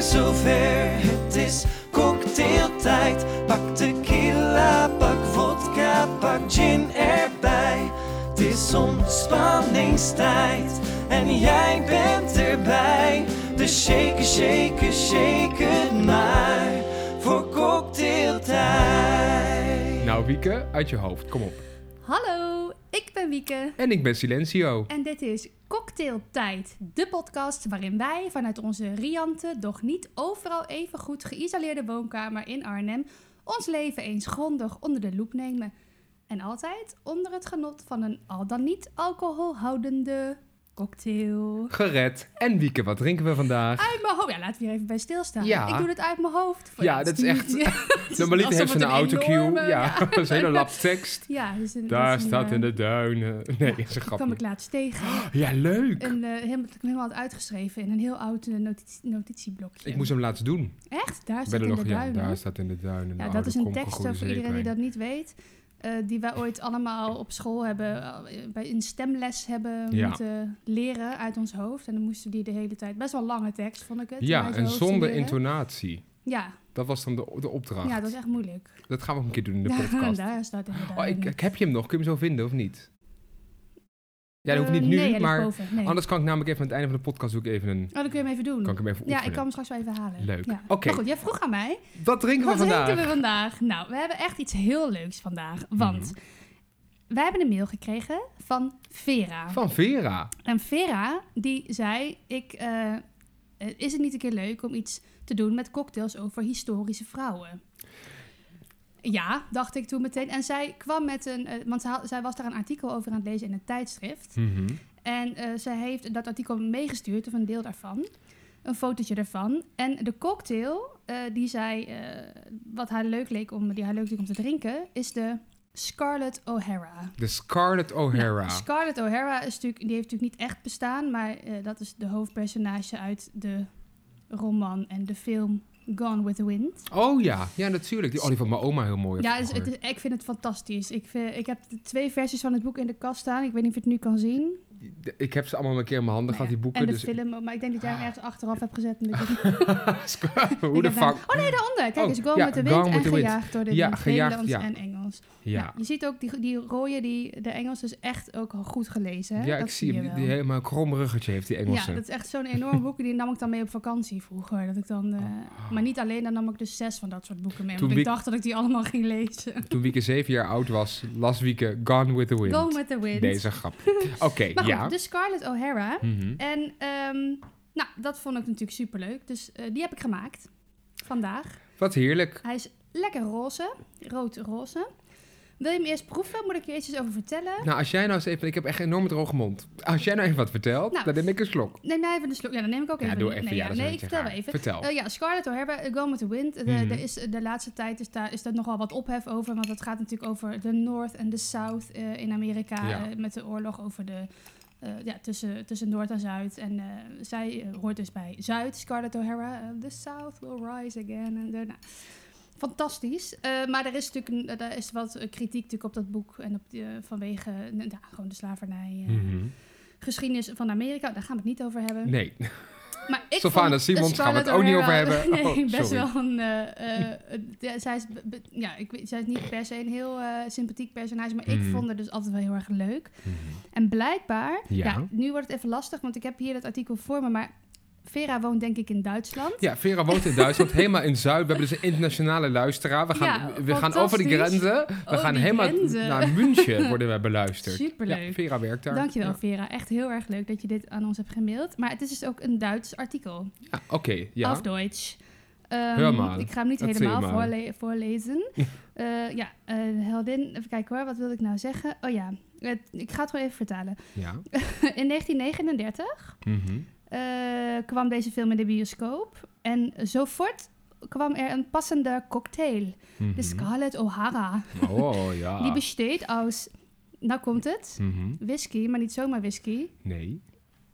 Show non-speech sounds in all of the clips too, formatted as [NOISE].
zover. Het is cocktailtijd. Pak tequila, pak vodka, pak gin erbij. Het is ontspanningstijd en jij bent erbij. Dus shake, shake, shake het maar voor cocktailtijd. Nou, Wieke, uit je hoofd, kom op. Hallo, ik ben Wieke En ik ben Silencio. en dit is Cocktailtijd, de podcast waarin wij vanuit onze riante, doch niet overal even goed geïsoleerde woonkamer in Arnhem ons leven eens grondig onder de loep nemen. En altijd onder het genot van een al dan niet alcoholhoudende cocktail. Gered. En Wieke, wat drinken we vandaag? Uit mijn hoofd. Ja, laten we hier even bij stilstaan. Ja. Ik doe het uit mijn hoofd. Voor Ja, het dat is echt- niet- [LAUGHS] het is Normaliter alsof Nou, heeft ze het een autocue. enorme- Ja, [LAUGHS] dat is een hele lap tekst. Ja, [LAUGHS] dat is een- dat Daar is een, staat eh, in de duinen. [LAUGHS] Nee, is een Die kwam ik grapje. laatst tegen. Ja, leuk. En eh helemaal, ik heb hem helemaal had uitgeschreven in een heel oud eh, notitie- notitieblokje. Ik moest hem laatst doen. Echt? Daar Bij staat de in de loggia. duinen. Daar staat in de duinen. ja, Nou, dat is een komt tekst goede voor iedereen die zeepijn. dat niet weet. eh, die wij ooit allemaal op school hebben, eh, bij een stemles hebben Ja. moeten leren uit ons hoofd. En dan moesten die de hele tijd, best wel lange tekst vond ik het. om Ja, uit je en hoofd te zonder leren. intonatie. Ja, Dat was dan de, de opdracht. ja, dat dat... is echt moeilijk. gaan we ook een keer doen in [LAUGHS] de Ja, podcast. daar staat in de Oh, ik, duinen. ik- heb je hem nog? Kun je hem zo vinden of niet? Ja, dat hoeft Eh, niet nu, nee, hij ligt maar boven, nee. anders kan ik namelijk even aan het einde van de podcast ook even een... Oh, dan kun je hem even doen. Kan ik hem even ja, ik oefenen? kan hem straks wel even halen. Leuk. Ja. Oké. Maar goed, jij vroeg aan mij. Wat drinken Wat we vandaag? drinken we vandaag? Nou, we hebben echt iets heel leuks vandaag. Want wij hebben een mail gekregen van Vera. Van Vera. En Vera, die zei... Ik, eh, eh, is het niet een keer leuk om iets te doen met cocktails over historische vrouwen? Ja, dacht ik toen meteen. En zij kwam met een... eh, want zij, had- zij was daar een artikel over aan het lezen in een tijdschrift. En eh zij heeft dat artikel meegestuurd, of een deel daarvan. Een fotootje daarvan. En de cocktail eh, die zij, eh, wat haar leuk leek om, die haar leuk leek om te drinken, is de Scarlett O'Hara. De Scarlett O'Hara. Nou, Scarlett O'Hara is natuurlijk, die heeft natuurlijk niet echt bestaan, maar eh, dat is de hoofdpersonage uit de roman en de film Gone with the Wind. oh ja, ja natuurlijk. Die, oh, die vond mijn oma heel mooi. Ja, het is- vroeger. het is- ik vind het fantastisch. Ik, vind- ik heb de twee versies van het boek in de kast staan. Ik weet niet of je het nu kan zien. De- Ik heb ze allemaal een keer in mijn handen Nou gehad, ja, die boeken. En de dus Ah. film, maar ik denk dat jij hem ergens achteraf hebt gezet. en dat je- [LAUGHS] Scar- Hoe Ik de heb hem- fuck? Oh nee, daaronder. Kijk Oh, eens, Gone ja, with the Wind Gone with en the Wind. Gejaagd door de Ja, Wind. gejaagd, Nederlands ja. en Engels. Ja, Nou, je ziet ook die, die rode, die, de Engels is echt ook goed gelezen. Hè? ja Dat ik zie hem. je Die, wel. die helemaal een krom ruggetje heeft, die ja, Engelse. dat is echt zo'n enorm boek. Die nam ik dan mee op vakantie vroeger. Dat ik dan, eh, Maar niet alleen, dan nam ik dus zes van dat soort boeken mee. Oh. Toen Want ik wie- dacht dat ik die allemaal ging lezen. Toen Wieke zeven jaar oud was, las Wieke Gone with the Wind. Gone with the Wind. Deze [LAUGHS] grap. Oké, Maar ja. goed, dus Scarlett O'Hara. Mhm. En ehm, nou, dat vond ik natuurlijk superleuk. Dus eh, die heb ik gemaakt. Vandaag. Wat heerlijk. Hij is lekker roze, rood-roze. Wil je hem eerst proeven? Moet ik je eerst iets over vertellen? Nou, als jij nou eens even... Ik heb echt een enorme droge mond. Als jij nou even wat vertelt, Nou. dan neem ik een slok. Neem jij even de slok. Ja, dan neem ik ook Ja, even. doe die- even. Nee, Ja, dat is een nee ik beetje vertel raar. wel even. Vertel. Eh, ja, Scarlett O'Hara, Go With The Wind. De, Oh. Mhm. er is eh, de laatste tijd is daar, is daar nogal wat ophef over. Want het gaat natuurlijk over de North en de South eh, in Amerika. Ja. eh, met de oorlog over de, eh, ja, tussen, tussen Noord en Zuid. En eh, zij eh, hoort dus bij Zuid, Scarlett O'Hara. eh, the South will rise again. En daarna. Fantastisch. Eh, maar er is natuurlijk een- er is wat eh, kritiek natuurlijk op dat boek. En op, die- vanwege eh, ja, gewoon de slavernij. eh, Mhm. Geschiedenis van Amerika. Daar gaan we het niet over hebben. Nee. Maar ik Sylvana vond Simons gaan we het Scarlett ook niet O'Hara- over hebben. [LAUGHS] Nee, Oh, best sorry. wel een... eh, eh, ja, zij, is, be- be- ja, ik, weet- zij is niet per se een heel eh, sympathiek personage, maar Mhm. ik vond haar dus altijd wel heel erg leuk. En blijkbaar... Ja. Ja. nu wordt het even lastig, want ik heb hier dat artikel voor me, maar Vera woont denk ik in Duitsland. Ja, Vera woont in Duitsland, helemaal in Zuid. We hebben dus een internationale luisteraar. We gaan, Ja, we gaan over de fantastisch. grenzen. We Oh, gaan die helemaal grenzen. naar München worden we beluisterd. Superleuk. Ja, Vera werkt daar. Dankjewel Ja. Vera, echt heel erg leuk dat je dit aan ons hebt gemaild. Maar het is dus ook een Duits artikel. Ja, Oké, ja. Auf Deutsch. Ehm, Hör mal. Ik ga hem niet Erzähl helemaal mal. voorle- voorlezen. Eh, ja, eh, heldin. Even kijken hoor, wat wilde ik nou zeggen? Oh ja, het- ik ga het gewoon even vertalen. [LAUGHS] ja. In 1939 Mhm. eh, kwam deze film in de bioscoop. En zo voort kwam er een passende cocktail. Mhm. De Scarlett O'Hara. Oh, ja. Die besteedt uit, nou komt het, Mhm. whisky, maar niet zomaar whisky, Nee.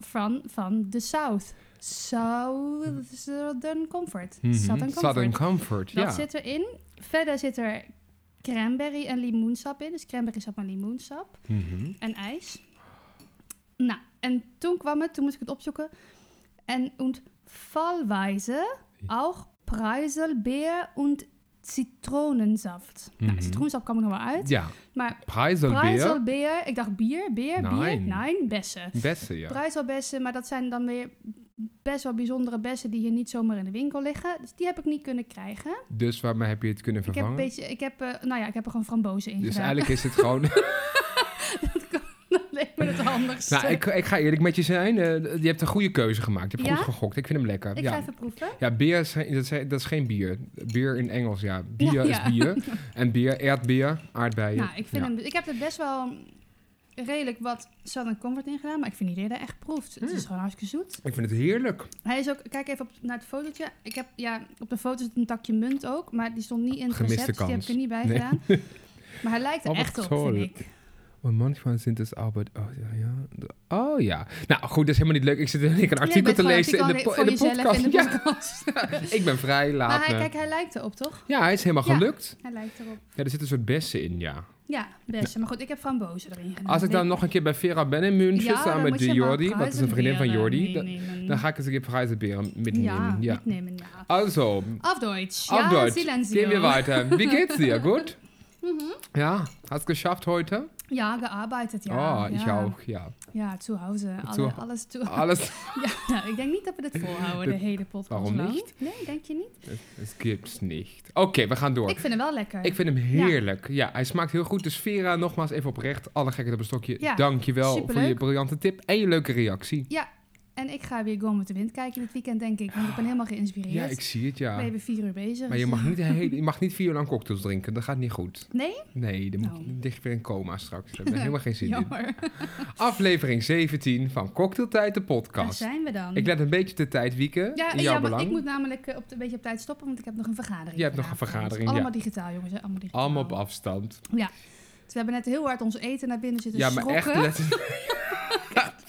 van, van de South. Southern Comfort. Mhm. Southern Comfort. Southern Comfort, Dat ja. zit erin. Verder zit er cranberry en limoensap in. Dus cranberrysap en limoensap. Mhm. En ijs. Nou, en toen kwam het, toen moest ik het opzoeken. En und fallweise auch Preiselbeer und Zitronensaft. Mhm. Nou, citroensap kwam er nog wel uit. Ja, Maar preiselbeer. preiselbeer, ik dacht bier, beer, Nein. bier. Nee, bessen. Bessen, ja. Preiselbessen, maar dat zijn dan weer best wel bijzondere bessen die hier niet zomaar in de winkel liggen. Dus die heb ik niet kunnen krijgen. Dus waarmee heb je het kunnen Ik heb, een vervangen? beetje, ik, heb, eh, nou ja, ik heb er gewoon frambozen in Dus gedaan. [LAUGHS] eigenlijk is het gewoon... Dat leek me het handigste. nou, ik, ik ga eerlijk met je zijn. eh, je hebt een goede keuze gemaakt. Je hebt Ja? goed gegokt. Ik vind hem lekker. [LAUGHS] Ik ja. ga even proeven. Ja, bier is, geen- dat is, dat is geen bier. Bier in Engels, ja. Bier Ja, is ja. [LAUGHS] bier. En bier, aardbeer, aardbeien. Nou, ik, vind Ja. hem, ik heb er best wel redelijk wat zout en comfort in gedaan, maar ik vind niet eerder echt proeft. Het Hmm. is gewoon hartstikke zoet. Ik vind het heerlijk. Hij is ook, kijk even op, naar het fotootje. Ik heb, ja, op de foto zit een takje munt ook, maar die stond niet in het Gemiste recept, dus die heb kans. ik er niet bij Nee. gedaan. [LAUGHS] Maar hij lijkt er Oh, wat echt op, sorry. vind ik. Oh, manchmal sind es aber... Oh ja, ja. Oh ja. Nou goed, dat is helemaal niet leuk. Ik zit ik een Ja, je artikel bent te gewoon lezen in de, artikel po- in voor de podcast. jezelf in de [LAUGHS] Ja, podcast. ik ben vrij laat. maar hij, me. kijk, hij lijkt erop, toch? Ja, hij is helemaal Ja. gelukt. Hij lijkt erop. Ja, er zitten een soort bessen in, ja. Ja, best. Maar goed, ik heb frambozen erin gedaan. Als ik dan Nee. nog een keer bij Vera ben in München Ja, samen dan met moet je de maar eh, Jordi, wat is een vriendin van preizenberen Jordi, dan, meenemen. dan ga ik eens een keer preizenberen mitnemen. Mhm. ja, Ja. mitnehmen, ja. Also, Auf Deutsch. auf ja, Deutsch. Silencio. Gehen wir weiter. Wie geht's dir? [LAUGHS] Gut? Mhm. Ja, hast geschafft heute? Ja, gearbeitet, ja. oh, ja. ich auch, ja. Ja, zu Hause. Alle, Zu- alles toe. Alles, Ja, [LAUGHS] nou, ik denk niet dat we dit volhouden, de Ah. Dit- hele podcast waarom lang. niet? Nee, denk je niet? es gibt's nicht. Oké, we gaan door. Ik vind hem wel lekker. Ik vind hem heerlijk. Ja. hij smaakt heel goed. Dus Vera, nogmaals even oprecht. Alle gekheid op een stokje. Ja, Dankjewel voor superleuk. je briljante tip en je leuke reactie. En ik ga weer Gone with the Wind kijken dit weekend, denk ik. Want ik ben helemaal geïnspireerd. Ah. Ja, ik zie het, ja. We hebben vier uur bezig. Maar je mag niet, [LAUGHS] heel, je mag niet vier uur lang cocktails drinken. Dat gaat niet goed. Nee? Nee, dan moet Oh. je dan lig je weer in coma straks. Daar hebben we helemaal geen [LAUGHS] zin in. Jammer. Aflevering 17 van Cocktailtijd, de Daar podcast. zijn we dan. Ik laat een beetje de tijd wieken. ja, in ja, jouw maar belang. ik moet namelijk eh, op de, een beetje op tijd stoppen, want ik heb nog een vergadering. Je hebt nog een vanavond. vergadering, ja. Allemaal digitaal, jongens. Hè? Allemaal digitaal. Allemaal op afstand. Dus we hebben net heel hard ons eten naar binnen zitten ja, maar schrokken. echt [LAUGHS] letterlijk.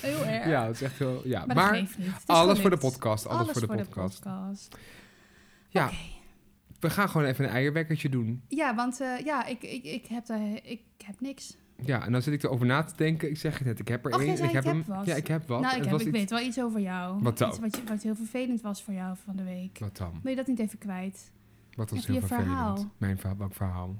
Heel erg. Ja, dat is echt heel. Ja. Maar, Maar, dat geeft niet. Het is alles voor de gelukt. podcast. Alles, voor de podcast. podcast. Ja. Oké. We gaan gewoon even een eierwekkertje doen. Ja, want eh, ja, ik, ik, ik, heb daar, ik heb niks. Ja, en dan zit ik erover na te denken. Ik zeg het net, ik heb er Och, één. jij zei, ik heb ik heb hem. wat. Ja, ik heb wat. nou, En het ik, heb, was ik iets- weet wel iets over jou. Wat dan? Iets wat, je- wat heel vervelend was voor jou van de week. Wat dan? Wil je dat niet even kwijt? Wat was Even heel je vervelend. verhaal. Mijn verhaal, welk verhaal?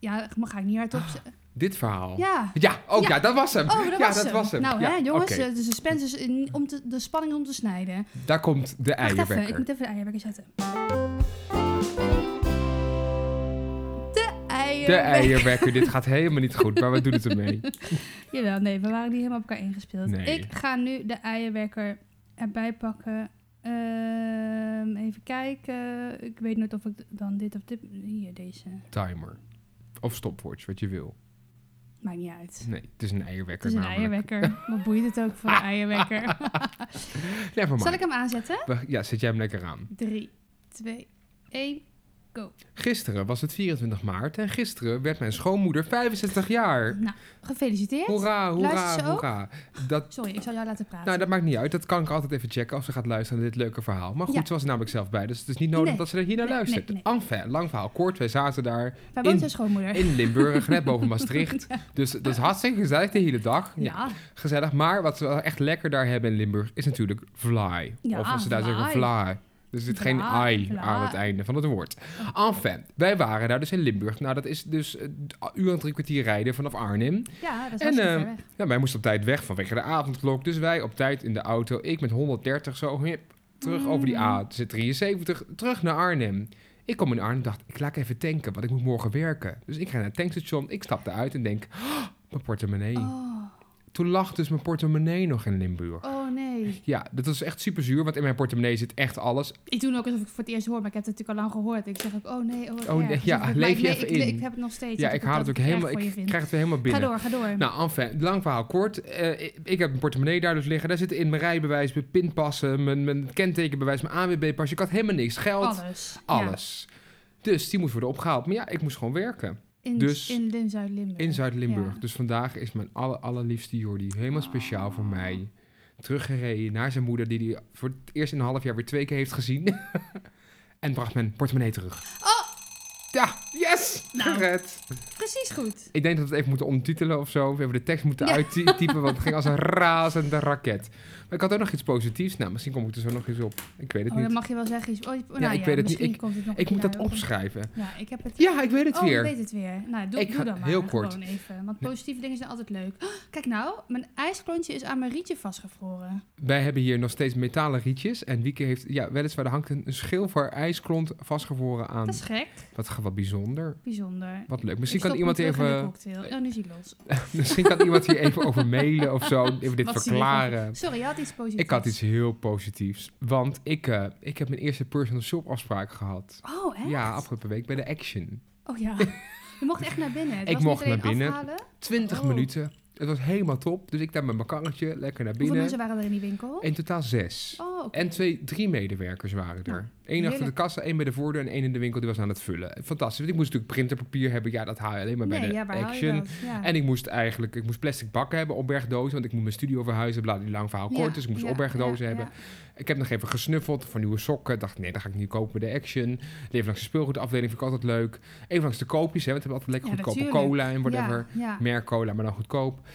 Ja, maar ga ik niet hardop zeggen. Dit verhaal. Ja. Ja, ook Ja. ja. dat was hem. Oh, dat Oh. ja, was dat hem. was hem. Nou, ja, hè, jongens, oké. eh, de suspense is in- om te, de spanning om te snijden. Daar komt de Wacht even, ik eierwekker. moet even de eierwekker zetten. De De eierwekker. eierwekker. Dit [LAUGHS] gaat helemaal niet goed, maar we doen het ermee. Jawel, nee, we waren niet helemaal op elkaar ingespeeld. Nee. Ik ga nu de eierwekker erbij pakken. Ehm, even kijken. Ik weet nooit of ik dan dit of dit... Hier, deze. Timer. Of stopwatch, wat je wil. Maakt niet uit. Nee, het is een eierwekker Het is een namelijk. eierwekker. Wat boeit het ook [LAUGHS] voor een eierwekker? Never mind. Zal ik hem aanzetten? We- Ja, zet jij hem lekker aan. Drie, twee, één. Gisteren was het 24 maart en gisteren werd mijn schoonmoeder 65 jaar. Nou, gefeliciteerd. Hoera, Luistert hoera, ze ook? hoera. Dat, Sorry, ik zal jou laten praten. nou, dat maakt niet uit. Dat kan ik altijd even checken als ze gaat luisteren naar dit leuke verhaal. Maar goed, Ja. ze was er namelijk zelf bij, dus het is niet nodig Nee. dat ze er hier naar Nee, luistert. nee, Enfin, lang verhaal kort. Wij zaten daar Waar woont in- jouw schoonmoeder? in Limburg, net [LAUGHS] boven Maastricht. Dus dat is hartstikke gezellig de hele dag. Ja. ja. Gezellig. Maar wat ze wel echt lekker daar hebben in Limburg is natuurlijk fly. Ja, of als ze daar vlaai. zeggen fly. Er zit geen Vlaai, I aan vlaai. het einde van het woord. Enfin, wij waren daar dus in Limburg. Nou, dat is dus eh, een uur en drie kwartier rijden vanaf Arnhem. ja, dat is En, hartstikke ver eh, weg. Ja, wij moesten op tijd weg vanwege de avondklok. Dus wij op tijd in de auto. Ik met 130 zo. hip, terug over Mm. die A73. Terug naar Arnhem. Ik kom in Arnhem dacht, ik laat even tanken, want ik moet morgen werken. Dus ik ga naar het tankstation. Ik stap eruit en denk, "Oh, mijn portemonnee. Oh, Toen lag dus mijn portemonnee nog in Limburg. oh nee. Ja, dat was echt super zuur, want in mijn portemonnee zit echt alles. Ik doe ook alsof ik het voor het eerst hoor, maar ik heb het natuurlijk al lang gehoord. Ik zeg ook, oh nee, oh, wat Oh, nee, erg. ja, Alsof ik- leef maar ik- je nee, even ik, le- in. Ik heb het nog steeds. Ja, dat ik haal het ook erg helemaal, voor je ik vind. krijg het weer helemaal Ga binnen. door, ga door. Nou, enfin, lang verhaal kort. Eh, ik- ik heb mijn portemonnee daar dus liggen. Daar zitten in mijn rijbewijs, mijn pinpassen, mijn, mijn kentekenbewijs, mijn AWB-pasje. Ik had helemaal niks. Geld, alles. alles. Ja, Dus die moest worden opgehaald. Maar ja, ik moest gewoon werken. in, dus- in, in Zuid-Limburg. In Zuid-Limburg. Ja. Dus vandaag is mijn aller, allerliefste Jordi helemaal speciaal voor Oh. mij. Teruggereden naar zijn moeder, die hij voor het eerst in een half jaar weer [LAUGHS] twee keer heeft gezien. en bracht mijn portemonnee terug. Oh! Ja, yes! Nou, Gered. precies goed. Ik denk dat we het even moeten omtitelen of zo. Of even de tekst moeten Ja. uittypen, want het ging als een razende raket. Maar ik had ook nog iets positiefs. Nou, misschien kom ik er zo nog eens op. Ik weet het Oh, dan niet. mag je wel zeggen. iets- Oh, je- nou Ja, ja, ik weet het niet. misschien Ik- komt het nog Ik een moet keer dat daarop. opschrijven. Ja, ik heb het. Ja, ik weet het oh, weer. ik weet het weer. Nou, doe, Ik doe ga- dan maar. heel kort. Gewoon even. Want positieve dingen zijn altijd leuk. Oh, kijk nou, mijn ijsklontje is aan mijn rietje vastgevroren. Wij hebben hier nog steeds metalen rietjes. En Wieke heeft, ja, weliswaar, er hangt een schil voor ijsklont vastgevroren aan. Dat is gek. Wat, wat bijzonder. Bijzonder. Wat leuk. Misschien Ik kan stop iemand hem terug in de even, Eh, cocktail. Oh, nu is hij los. [LAUGHS] misschien kan iemand hier even over mailen of zo. Even dit Wat verklaren. zielig. Sorry, je had iets positiefs. Ik had iets heel positiefs. Want ik, eh, ik heb mijn eerste personal shop afspraak gehad. Oh, hè? Ja, afgelopen week bij de Action. Oh ja. Je mocht echt naar [LAUGHS] binnen. Het Ik was mocht niet alleen naar binnen. Afhalen. Twintig Oh. minuten. Het was helemaal top. Dus ik daar met mijn karretje lekker naar Hoeveel binnen. mensen waren er in die winkel? In totaal zes. Oh, oké. En twee, drie medewerkers waren er. Nou, Eén achter de heerlijk. kassa, één bij de voordeur en één in de winkel. Die was aan het vullen. Fantastisch. Want ik moest natuurlijk printerpapier hebben. Ja, dat haal je alleen maar bij nee, de ja, waar haal je Action. dat? Ja. En ik moest eigenlijk ik moest plastic bakken hebben, opbergdozen. Want ik moet mijn studio verhuizen, bla, die lang verhaal Ja, kort. dus ik moest ja, opbergdozen ja, hebben. ja. Ik heb nog even gesnuffeld voor nieuwe sokken. Ik dacht, nee, dat ga ik niet kopen bij de Action. Even langs de speelgoedafdeling vind ik altijd leuk. Even langs de koopjes, hè, want we hebben altijd lekker Ja, goedkope cola natuurlijk. en whatever. Ja, ja. Merk cola, maar dan goedkoop.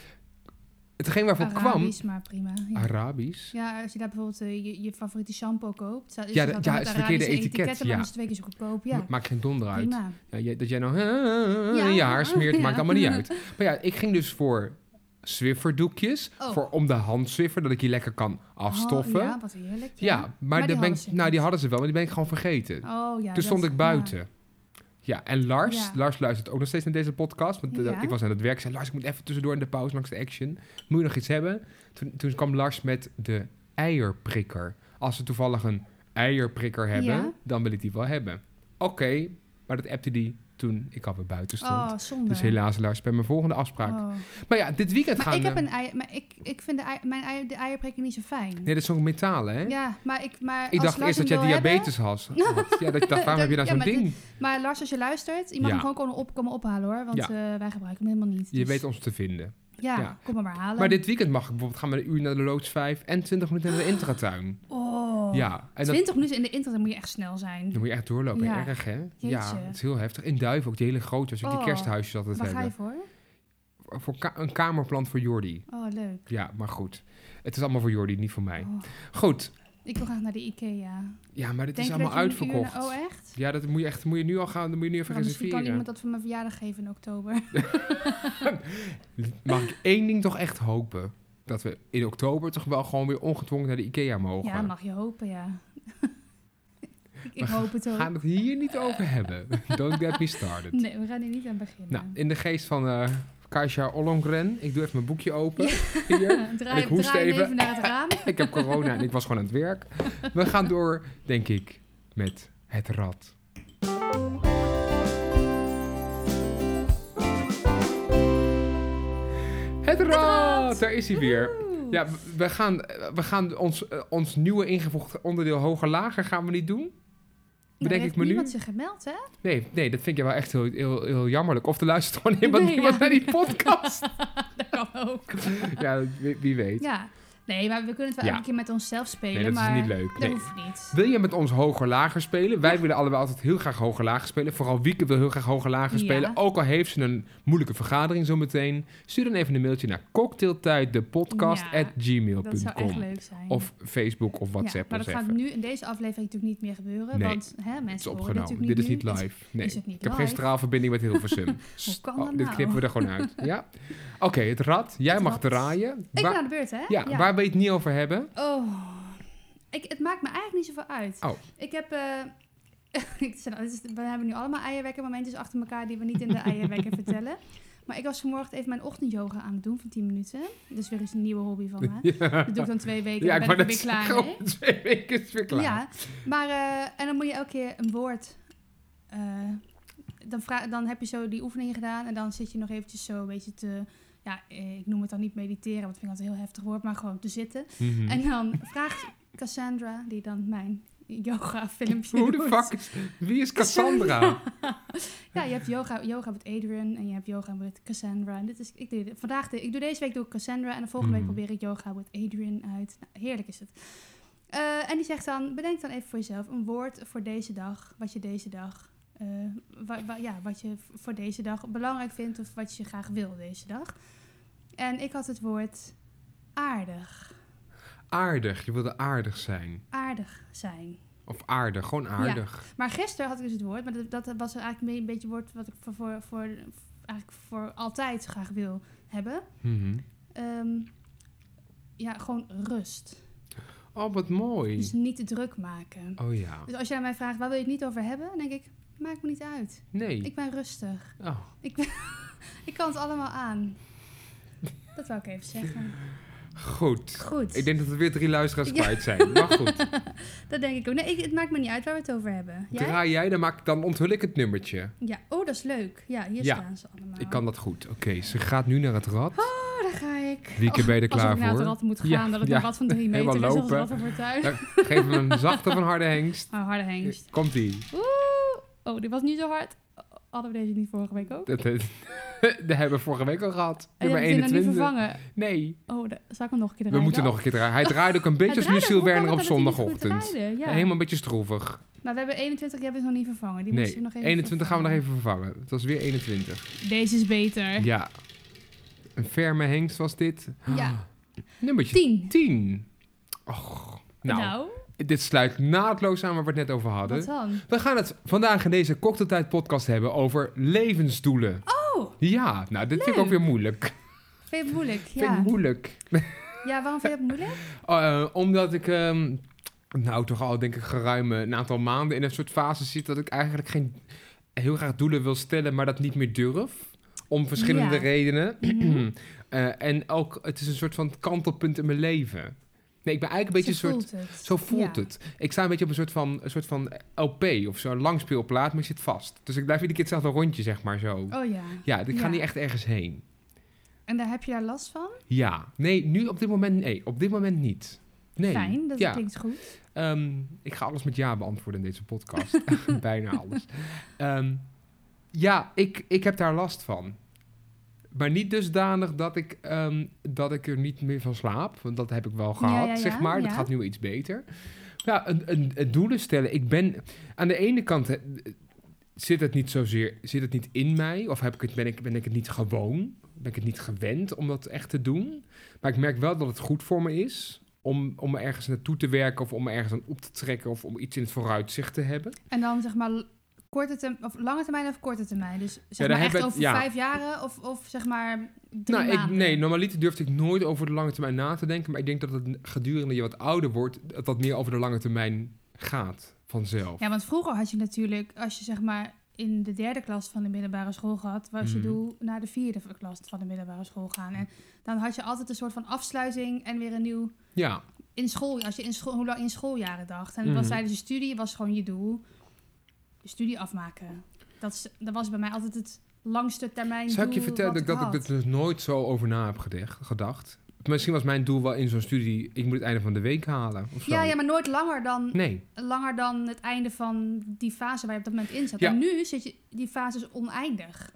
Hetgeen waarvoor Arabisch, maar prima. kwam... Ja. Arabisch? Ja, als je daar bijvoorbeeld eh, je, je favoriete shampoo koopt, staat- is Ja, er dat- dan ja, met het verkeerde Arabische etiket, etiketten, ja. maar dan is het twee keer zo goedkoop. Ja, Ma- Maakt geen donder uit. prima. Ja, jij- dat jij nou [LAUGHS] een jaar smeert, ja. maakt allemaal niet [LAUGHS] uit. Maar ja, ik ging dus voor swifferdoekjes. Oh. Voor om de hand swiffer, dat ik die lekker kan afstoffen. Oh, ja, wat heerlijk. Ja, maar, die, ben die hadden ik, ze nou, die niet. hadden ze wel, maar die ben ik gewoon vergeten. Oh, ja, Toen dat- stond ik buiten. Ja. en Lars, Ja. Lars luistert ook nog steeds naar deze podcast. Want eh, Ja. ik was aan het werk. Ik zei, Lars, ik moet even tussendoor in de pauze langs de action. Moet je nog iets hebben? Toen, toen kwam Lars met de eierprikker. Als ze toevallig een eierprikker hebben, Ja. dan wil ik die wel hebben. Oké, maar dat appte die toen ik alweer buiten Ja. stond. Oh, zonde. Dus helaas, Lars, bij mijn volgende afspraak. Oh. Maar ja, dit weekend Maar gaan eh, ik heb we... een ei, maar ik, ik vind de, ei, mijn ei, de eierprikken niet zo fijn. Nee, dat is zo'n metalen, hè? Ja, maar ik, maar ik als nou dacht Lars eerst dat hem jij wil diabetes [LAUGHS] had. Ja, dat ik dacht, waarom heb je dan Ja, zo'n maar dit- ding? hebben- maar Lars, als je luistert, je mag Ja. hem gewoon komen, op, komen ophalen hoor, want Ja. eh, wij gebruiken hem helemaal niet. Je Dus weet ons te vinden. ja, ja. kom hem maar halen. Maar dit weekend mag ik bijvoorbeeld gaan met een uur naar de Loods 5 en 20 minuten naar de Intratuin. oh, Ja, en dat, 20 minuten in de internet moet je echt snel zijn. dan moet je echt doorlopen. Ja. Erg, hè? Ja, Jeetje. het is heel heftig. In Duiven ook, die hele grote, als ik die Oh. kersthuisjes altijd Waar ga je hebben. voor? Voor ka- een kamerplan voor Jordi. Oh, leuk. Ja, maar goed. Het is allemaal voor Jordi, niet voor mij. Oh, Goed. Ik ik wil graag naar de Ikea. Ja, maar dit Denk is je allemaal dat je om een uur uitverkocht. na- oh, echt? ja, dat moet je echt moet je nu al gaan, dan moet je nu even Nou, misschien kan reserveren. iemand dat voor mijn verjaardag geven in oktober. Mag ik één ding toch echt hopen? Dat we in oktober toch wel gewoon weer ongedwongen naar de IKEA mogen. Ja, mag je hopen, ja. [LAUGHS] ik ik hoop het We ook. gaan het hier niet over [LAUGHS] hebben. Don't get me started. Nee, we gaan hier niet aan beginnen. Nou, in de geest van eh Kasia Ollongren. Ik doe even mijn boekje open. Hier. draai, en ik hoest draai hem even. even naar het raam. Ik heb corona en ik was gewoon aan het werk. We gaan door, denk ik, met het rad. Het rad! Daar is hij weer. Woe. Ja, w- we gaan, eh, we gaan ons, eh, ons nieuwe ingevoegde onderdeel hoger lager gaan we niet doen. Nou, Bedenk heeft ik me nu. niemand zich gemeld, hè? Nee, nee, dat vind ik wel echt heel, heel, heel jammerlijk. Of er luistert gewoon iemand, Nee, iemand ja. naar die podcast. [LAUGHS] [LAUGHS] Dat kan ook. ja, wie, wie weet. Ja. Nee, maar we kunnen het wel Ja. elke keer met onszelf spelen. Nee, dat is maar niet leuk, Dat nee. hoeft niet. Wil je met ons hoger-lager spelen? Wij willen allebei altijd heel graag hoger-lager spelen. Vooral Wieke wil heel graag hoger-lager Ja. spelen. Ook al heeft ze een moeilijke vergadering zometeen. Stuur dan even een mailtje naar Ja, Dat zou echt cocktailtijddepodcast.gmail.com leuk zijn. Of Facebook of Ja, WhatsApp maar ons dat gaat even. nu in deze aflevering natuurlijk niet meer gebeuren. Nee. Want hè, mensen Het is horen dit opgenomen. natuurlijk Dit is nu. niet live. Nee. is het niet ik heb geen live? straalverbinding met [LAUGHS] Hilversum. Sst, kan dat Oh, dit nou? knippen we er gewoon [LAUGHS] uit. Ja? Oké, het rad. Jij Het mag rad. draaien. Ik ben Waar- aan de beurt, hè? ja, waar wil je het niet over hebben? [LAUGHS] Oh. Ik, het maakt me eigenlijk niet zoveel uit. Oh. Ik heb... eh, [LAUGHS] ik zei nou, het is- we hebben nu allemaal eierwekkermomentjes achter elkaar die we niet in [LAUGHS] de eierwekker vertellen. Maar ik was vanmorgen even mijn ochtendyoga aan het doen van 10 minuten. Dus weer eens een nieuwe hobby van me. [LAUGHS] Ja, Dat doe ik dan twee weken Ja, en ik dan wou ben ik net er zeggen, [LAUGHS] weer klaar mee. over twee weken is het weer klaar. Ja, maar eh, en dan moet je elke keer een woord. eh, dan, vra- dan heb je zo die oefening gedaan en dan zit je nog eventjes zo een beetje te. Ja, eh, ik noem het dan niet mediteren, want dat vind ik altijd een heel heftig woord, maar gewoon te zitten. Mhm. En dan vraagt Cassandra, die dan mijn [LAUGHS] yoga-filmpje. [LAUGHS] Hoe de doet. fuck is... Wie [LAUGHS] is Cassandra? Ja, je hebt yoga, yoga met Adrian en je hebt yoga met Cassandra. En dit is, ik, doe, vandaag de, ik doe deze week doe ik Cassandra en de volgende Mm. week probeer ik yoga met Adrian uit. Nou, heerlijk is het. Eh, en die zegt dan, bedenk dan even voor jezelf een woord voor deze dag, wat je deze dag eh, eh, wa- wa- ja, wat je v- voor deze dag belangrijk vindt of wat je graag wil deze dag. En ik had het woord aardig. Aardig, je wilde aardig zijn. Aardig zijn. Of aardig, gewoon aardig. Maar gisteren had ik dus het woord, maar dat, dat was eigenlijk mee- een beetje woord wat ik voor, voor, voor, eigenlijk voor altijd graag wil hebben. Mhm. Ehm, ja, gewoon rust. Oh, wat mooi. Dus niet te druk maken. Oh ja. Dus als jij aan mij vraagt, waar wil je het niet over hebben? Dan denk ik, maakt me niet uit. Nee. Ik ben rustig. Oh. Ik, ben ik kan het allemaal aan. Dat wou ik even zeggen. Goed. Goed. Ik denk dat we weer drie luisteraars Ja. kwijt zijn. Maar goed, Dat denk ik ook. Nee, ik- het maakt me niet uit waar we het over hebben. [LAUGHS] Jij? draai jij, dan, maak, dan onthul ik het nummertje. Ja. Oh, dat is leuk. Ja, hier Ja. staan ze allemaal. Ik kan dat goed. Oké, ze gaat nu naar het rad. Oh, daar ga ik. Wieke, ben je er klaar Alsof ik naar voor? het rad moet gaan, Ja, dat het ja. een rad van drie meter [LAUGHS] Helemaal is. Dat is lopen. wat er voor tuin. Nou, geef hem een zachte van harde hengst. Oh, harde hengst. Komt-ie. Oeh. Oh, dit was niet zo hard. Oh, Hadden we deze niet vorige week ook? Dat, dat, [LAUGHS] dat hebben we vorige week al gehad. En Nummer heb ik die nou 21. niet vervangen? Nee, Oh, da- zal ik hem nog een keer we draaien moeten dan? nog een keer draaien. Hij draait ook een beetje als Hij draaide Lucille ook wel Werner op dat hij niet goed zondagochtend. draaide, ja. Helemaal een beetje stroevig. Maar we hebben 21, jij hebt nog niet vervangen. Die nee, moeten we nog even 21 gaan we nog vervangen. even vervangen. Het was weer 21. Deze is beter. Ja. Een ferme hengst was dit. Ja. Nummertje 10. 10. Och, Ah. nou, Nou, dit sluit naadloos aan waar we het net over hadden. wat dan? We gaan het vandaag in deze Cocktailtijd podcast hebben over levensdoelen. Oh, Ja, nou, dit vind ik ook weer moeilijk. vind je het moeilijk? Vind ik Ja. moeilijk. ja, waarom vind je het moeilijk? [CLEARS THROAT] Eh, omdat ik, ehm, nou toch al denk ik geruim eh, een aantal maanden in een soort fase zit dat ik eigenlijk geen heel graag doelen wil stellen, maar dat niet meer durf. Om verschillende Ja. redenen. Mhm. Eh, en ook, het is een soort van kantelpunt in mijn leven. Nee, ik ben eigenlijk een beetje een Zo soort... voelt het. Zo voelt Ja. het. Ik sta een beetje op een soort van, een soort van LP of zo, een langspeelplaat, maar ik zit vast. Dus ik blijf iedere keer hetzelfde rondje, zeg maar zo. Oh ja. Ja, ik ga Ja. niet echt ergens heen. En daar heb je daar last van? Ja, nee, nu op dit moment, nee, op dit moment niet. Nee. Fijn, dat ja. klinkt goed. Ehm, ik ga alles met ja beantwoorden in deze [LAUGHS] podcast. [LAUGHS] Bijna alles. Ehm, ja, ik, ik heb daar last van. Maar niet dusdanig dat ik, ehm, dat ik er niet meer van slaap. Want dat heb ik wel Ja, gehad, ja, ja, zeg maar. Dat ja. gaat nu iets beter. Ja, een, een, een doelen stellen. Ik ben aan de ene kant... eh, Zit het niet zozeer zit het niet in mij? Of heb ik het, ben, ik, ben ik het niet gewoon? Ben ik het niet gewend om dat echt te doen? Maar ik merk wel dat het goed voor me is om, om ergens naartoe te werken of om ergens aan op te trekken of om iets in het vooruitzicht te hebben. En dan zeg maar l- korte term- of lange termijn of korte termijn. Dus daar zeg maar echt hebben we- over ja. vijf jaren of, of zeg maar drie Nou, ik, maanden. nee, normaliter durfde ik nooit over de lange termijn na te denken, maar ik denk dat het gedurende je wat ouder wordt, dat dat meer over de lange termijn gaat vanzelf. Ja, want vroeger had je natuurlijk, als je zeg maar in de derde klas van de middelbare school gaat, was je Mhm. doel naar de vierde klas van de middelbare school gaan. En dan had je altijd een soort van afsluiting en weer een nieuw Ja, in school. Als je in school, hoe lang in schooljaren dacht. En Mhm. was tijdens je studie was gewoon je doel je studie afmaken. Dat, is, dat was bij mij altijd het langste termijn. zou ik je doel vertellen wat dat ik, dat ik had. er dus nooit zo over na heb gedeg- gedacht? Misschien was mijn doel wel in zo'n studie, ik moet het einde van de week halen of zo. Ja, ja, maar nooit langer dan, Nee, langer dan het einde van die fase waar je op dat moment in zat. Ja. En nu zit je, die fase is oneindig.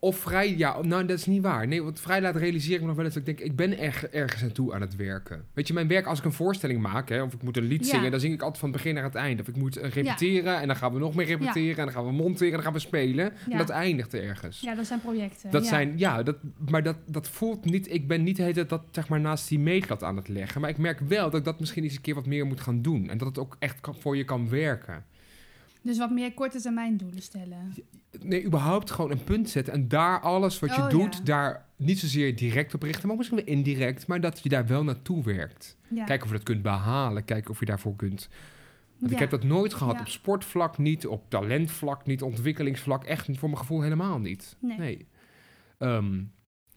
Of vrij, ja, nou dat is niet waar. Nee, want vrij laat realiseer ik me nog wel eens dat ik denk, ik ben erg, ergens naartoe aan het werken. Weet je, mijn werk, als ik een voorstelling maak, hè, of ik moet een lied Ja. zingen, dan zing ik altijd van het begin naar het eind. Of ik moet eh, repeteren en dan gaan we nog meer repeteren en dan gaan we monteren en dan gaan we spelen. En Ja. dat eindigt ergens. Ja, dat zijn projecten. Dat ja. zijn, ja, dat, maar dat, dat voelt niet, ik ben niet de hele tijd dat zeg maar naast die meetlat aan het leggen. Maar ik merk wel dat ik dat misschien eens een keer wat meer moet gaan doen. En dat het ook echt kan- voor je kan werken. Dus wat meer korte termijn doelen stellen. Nee, überhaupt gewoon een punt zetten. En daar alles wat je Oh, doet, ja. daar niet zozeer direct op richten, maar misschien wel indirect. Maar dat je daar wel naartoe werkt. Ja. Kijken of je dat kunt behalen. Kijken of je daarvoor kunt. Want ik Ja. heb dat nooit gehad. Ja. Op sportvlak niet, op talentvlak niet, ontwikkelingsvlak echt voor mijn gevoel helemaal niet. Nee. Ehm,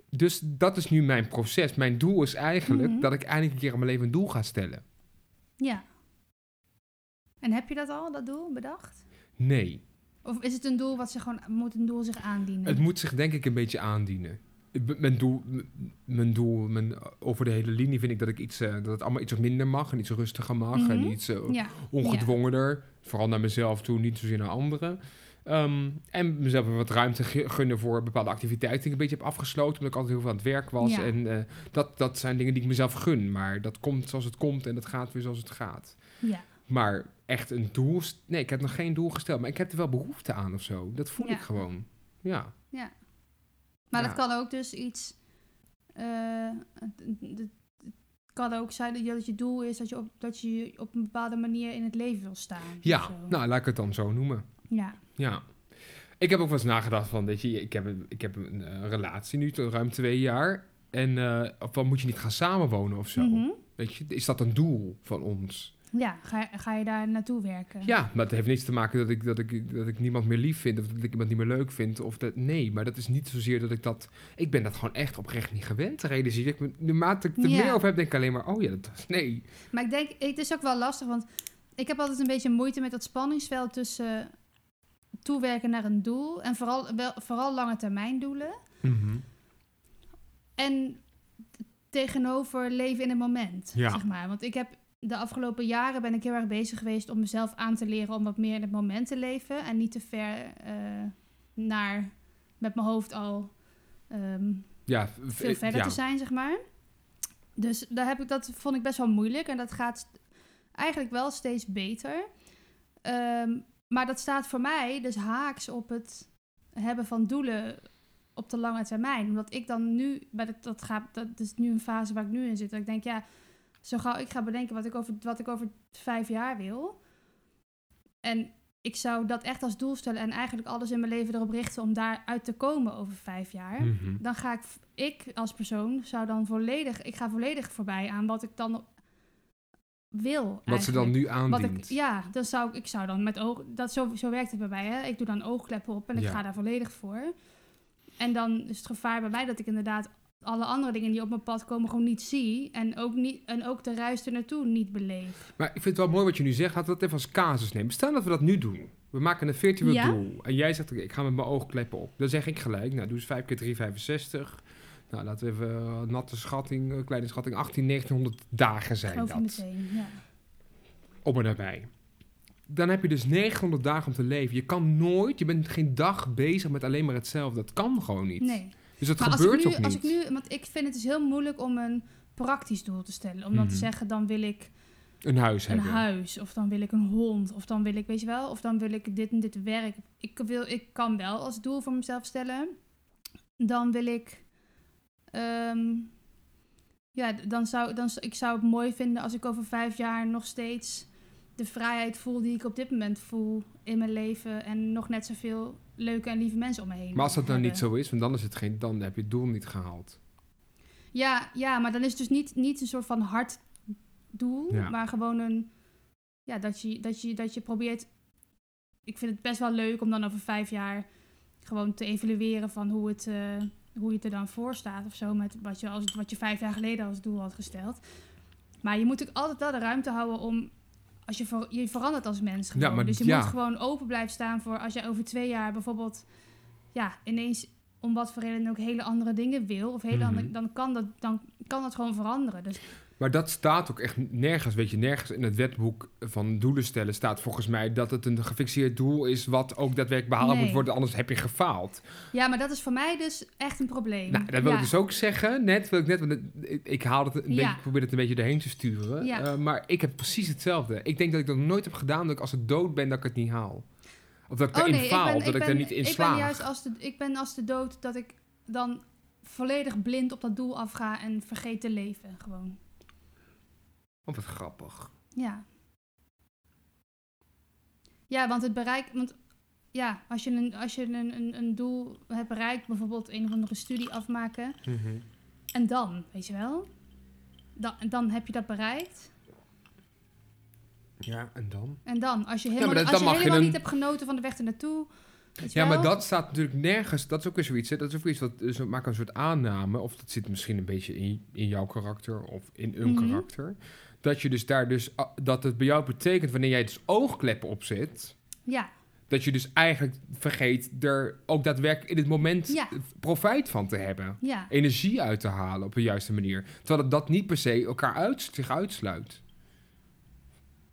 dus dat is nu mijn proces. Mijn doel is eigenlijk Mhm. dat ik eindelijk een keer aan mijn leven een doel ga stellen. Ja. En heb je dat al, dat doel, bedacht? Nee. Of is het een doel wat zich gewoon, moet een doel zich aandienen? Het moet zich denk ik een beetje aandienen. Ik ben- Mijn doel, m- mijn doel mijn, over de hele linie vind ik dat, ik iets, eh, dat het allemaal iets wat minder mag en iets rustiger mag en Mhm. iets eh, ja. ongedwongener. Vooral naar mezelf toe, niet zozeer naar anderen. Ehm, en mezelf weer wat ruimte ge- gunnen voor bepaalde activiteiten die ik een beetje heb afgesloten, omdat ik altijd heel veel aan het werk was. Ja. En eh, dat, dat zijn dingen die ik mezelf gun, maar dat komt zoals het komt en dat gaat weer zoals het gaat. ja. Maar echt een doel... st- Nee, ik heb nog geen doel gesteld. Maar ik heb er wel behoefte aan of zo. Dat voel Ja. ik gewoon. Ja. Maar Ja. dat kan ook dus iets. eh, het- het het kan ook zijn dat je, dat je doel is dat je, op, dat je op een bepaalde manier in het leven wil staan. of Ja, zo. nou, laat ik het dan zo noemen. ja. Ja. Ik heb ook wel eens nagedacht van, weet je, ik heb een, ik heb een eh, relatie nu, tot ruim twee jaar. En eh van, moet je niet gaan samenwonen of zo? Mhm. Weet je, is dat een doel van ons? ja ga, ga je daar naartoe werken? Ja, maar het heeft niks te maken dat ik, dat ik, dat ik niemand meer lief vind of dat ik iemand niet meer leuk vind. Of dat, nee, maar dat is niet zozeer dat ik dat... Ik ben dat gewoon echt oprecht niet gewend te realiseren. Ik ben, naarmate ik er Ja. meer over heb, denk ik alleen maar, oh ja, dat was... Nee. Maar ik denk, het is ook wel lastig, want ik heb altijd een beetje moeite met dat spanningsveld tussen toewerken naar een doel en vooral, wel, vooral lange termijn doelen. Mhm. En t- tegenover leven in het moment, Ja. zeg maar. Want ik heb de afgelopen jaren ben ik heel erg bezig geweest om mezelf aan te leren om wat meer in het moment te leven en niet te ver eh, naar met mijn hoofd al ehm, Ja, veel eh, verder ja. te zijn, zeg maar. Dus daar heb ik, dat vond ik best wel moeilijk. En dat gaat eigenlijk wel steeds beter. Ehm, maar dat staat voor mij dus haaks op het hebben van doelen op de lange termijn. Omdat ik dan nu, maar dat, dat, gaat, dat is nu een fase waar ik nu in zit. Dat ik denk, ja, zo gauw ik ga bedenken wat ik over, wat ik over vijf jaar wil. En ik zou dat echt als doel stellen en eigenlijk alles in mijn leven erop richten om daaruit te komen over vijf jaar Mhm. dan ga ik, ik als persoon zou dan volledig, ik ga volledig voorbij aan wat ik dan wil. Wat ze dan eigenlijk. nu Wat aandient. ik, ja, dan zou ik, ik zou dan met oog, dat zo, zo werkt het bij mij, hè? Ik doe dan oogkleppen op en ik Ja. ga daar volledig voor. En dan is het gevaar bij mij dat ik inderdaad alle andere dingen die op mijn pad komen gewoon niet zie en ook niet en ook de ruis er naartoe niet beleef. Maar ik vind het wel mooi wat je nu zegt. Laten we dat even als casus nemen. Stel dat we dat nu doen. We maken een virtueel Ja. doel. En jij zegt, oké, ik ga met mijn oogkleppen op. Dan zeg ik gelijk, nou, doe eens 5 keer 365. Nou, laten we even eh, natte schatting, eh, kleine schatting, 18, 1900 dagen zijn Geloof ik dat. meteen. Ja. Op en nabij. Dan heb je dus 900 dagen om te leven. Je kan nooit, je bent geen dag bezig met alleen maar hetzelfde. Dat kan gewoon niet. Nee. Dus dat Maar als ik, gebeurt nu, ook niet. als ik nu, want ik vind het dus heel moeilijk om een praktisch doel te stellen. Om dan te Mhm. zeggen, dan wil ik een huis een hebben. huis of dan wil ik een hond of dan wil ik weet je wel of dan wil ik dit en dit werk ik wil ik kan wel als doel voor mezelf stellen dan wil ik ehm, ja d- dan zou dan z- ik zou het mooi vinden als ik over vijf jaar nog steeds de vrijheid voel die ik op dit moment voel in mijn leven en nog net zoveel leuke en lieve mensen om me heen Maar als dat nou hebben. niet zo is, want dan, is het geen, dan heb je het doel niet gehaald. Ja, ja, maar dan is het dus niet, niet een soort van hard doel, Ja. maar gewoon een... Ja, dat je, dat, je, dat je probeert... Ik vind het best wel leuk om dan over vijf jaar gewoon te evalueren van hoe het, eh, hoe het er dan voor staat of zo. Met wat je, als, wat je vijf jaar geleden als doel had gesteld. Maar je moet ook altijd wel de ruimte houden om... Als je, ver- je verandert als mens gewoon. maar dus je ja. moet gewoon open blijven staan voor als jij over twee jaar bijvoorbeeld... Ja, ineens om wat voor reden ook hele andere dingen wil. Of hele Mhm. andere, dan, kan dat, dan kan dat gewoon veranderen. Dus Maar dat staat ook echt nergens, weet je, nergens in het wetboek van doelen stellen staat volgens mij dat het een gefixeerd doel is wat ook daadwerkelijk behaald Nee. moet worden, anders heb je gefaald. ja, maar dat is voor mij dus echt een probleem. Nou, dat wil ja. ik dus ook zeggen, net, wil ik net, want het- ik, ik haal het, een beetje, Ja. ik probeer het een beetje erheen te sturen, Ja. Eh, maar ik heb precies hetzelfde. Ik denk dat ik dat nooit heb gedaan, dat ik als ik dood ben, dat ik het niet haal. Of dat ik Oh erin nee, ik faal, ben, of dat ik, ben, er niet in ik slaag. ben juist als de, ik ben als de dood dat ik dan volledig blind op dat doel afga en vergeet te leven gewoon. Oh, wat grappig. Ja. Ja, want het bereik... Want ja, als je, een, als je een, een, een doel hebt bereikt, bijvoorbeeld een of andere studie afmaken, Mhm. En dan, weet je wel? Dan, dan heb je dat bereikt. Ja, en dan? En dan, als je helemaal, maar dat- als dan je mag je helemaal een- niet hebt genoten van de weg ernaartoe. weet je Ja, maar wel? dat staat natuurlijk nergens. Dat is ook weer zoiets. Hè? Dat is ook weer iets wat dus we maken een soort aanname. Of dat zit misschien een beetje in, in jouw karakter of in een Mhm. karakter. Dat je dus daar dus ah, dat het bij jou betekent wanneer jij dus oogkleppen opzet. Ja, Dat je dus eigenlijk vergeet er ook daadwerkelijk in het moment Ja. profijt van te hebben. ja. Energie uit te halen op de juiste manier. Terwijl het dat niet per se elkaar uit, zich uitsluit.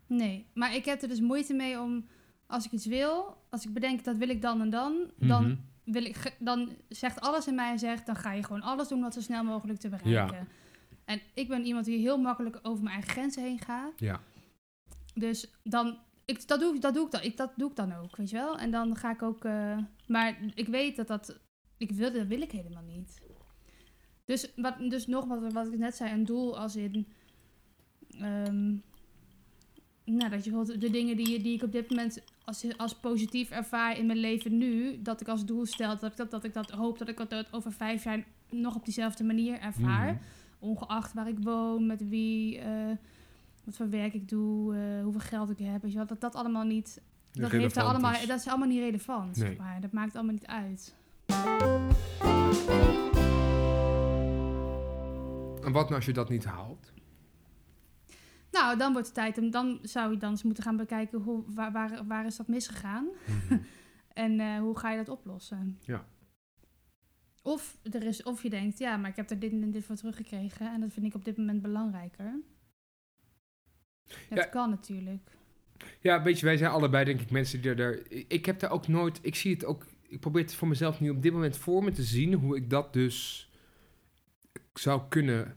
Nee. Maar ik heb er dus moeite mee om, als ik iets wil, als ik bedenk dat wil ik dan en dan, dan, Mhm. wil ik, ge- dan zegt alles in mij zegt, dan ga je gewoon alles doen wat zo snel mogelijk te bereiken. En ik ben iemand die heel makkelijk over mijn eigen grenzen heen gaat. Ja. Dus dan, ik, dat, doe, ik- dat, doe ik dan, ik, dat doe ik dan ook, weet je wel. En dan ga ik ook, eh, maar ik weet dat dat, ik wil, dat wil ik helemaal niet. Dus, wat, dus nog wat, wat ik net zei, een doel als in, ehm, nou, dat je bijvoorbeeld de dingen die, je- die ik op dit moment als, als positief ervaar in mijn leven nu, dat ik als doel stel, dat ik dat, dat, ik dat hoop dat ik dat over vijf jaar nog op diezelfde manier ervaar Mhm. ongeacht waar ik woon, met wie, eh, wat voor werk ik doe, eh, hoeveel geld ik heb, weet je wel, dat dat allemaal niet, dat, heeft er Relevant allemaal, is. dat is allemaal niet relevant, Nee. zeg maar. dat maakt allemaal niet uit. En wat nou als je dat niet haalt? Nou, dan wordt het tijd, om, dan zou je dan eens moeten gaan bekijken, hoe, waar, waar, waar is dat misgegaan [LAUGHS] en eh, hoe ga je dat oplossen? Mhm. Ja. Of, er is, of je denkt, ja, maar ik heb er dit en dit voor teruggekregen en dat vind ik op dit moment belangrijker. Dat Ja. kan natuurlijk. Ja, weet je, wij zijn allebei denk ik mensen die er- er... Ik heb daar ook nooit... Ik zie het ook... Ik probeer het voor mezelf nu op dit moment voor me te zien... hoe ik dat dus zou kunnen...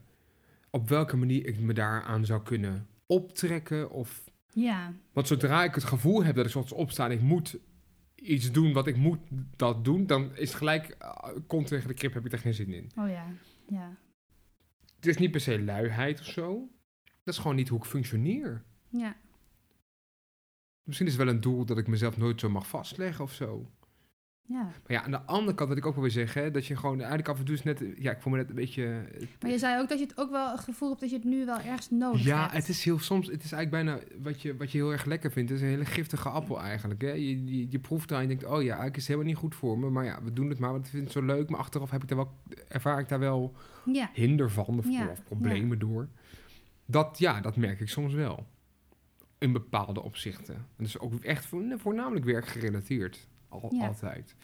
op welke manier ik me daaraan zou kunnen optrekken of... Ja, Want zodra ik het gevoel heb dat ik soms opsta en ik moet iets doen wat ik moet dat doen... dan is het gelijk... eh, kont tegen de krip heb ik er geen zin in. oh ja, ja, Het is niet per se luiheid of zo. Dat is gewoon niet hoe ik functioneer. ja. Misschien is het wel een doel dat ik mezelf nooit zo mag vastleggen of zo. Ja, Maar ja, aan de andere kant wat ik ook wel weer zeggen... Hè, dat je gewoon eigenlijk af en toe is net... Ja, ik voel me net een beetje... eh, maar je zei ook dat je het ook wel het gevoel hebt dat je het nu wel ergens nodig ja, hebt. het is heel soms... Het is eigenlijk bijna wat je, wat je heel erg lekker vindt. Het is een hele giftige appel eigenlijk. Hè? Je, je, je proeft daar en je denkt... Oh ja, eigenlijk is het helemaal niet goed voor me. Maar ja, we doen het maar. Want ik vind het zo leuk. Maar achteraf heb ik daar wel, ervaar ik daar wel Ja, hinder van. Of, Ja, of problemen door. Dat, ja, dat merk ik soms wel. In bepaalde opzichten. En dat is ook echt vo- voornamelijk werkgerelateerd. Al, Ja. Altijd.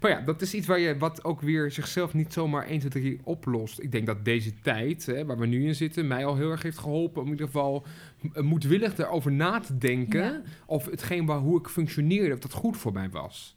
Maar ja, dat is iets waar je, wat ook weer zichzelf niet zomaar 1, 2, 3 oplost. Ik denk dat deze tijd, hè, waar we nu in zitten, mij al heel erg heeft geholpen. Om in ieder geval m- moedwillig daarover na te denken. Ja. Of hetgeen waar, hoe ik functioneerde, of dat goed voor mij was.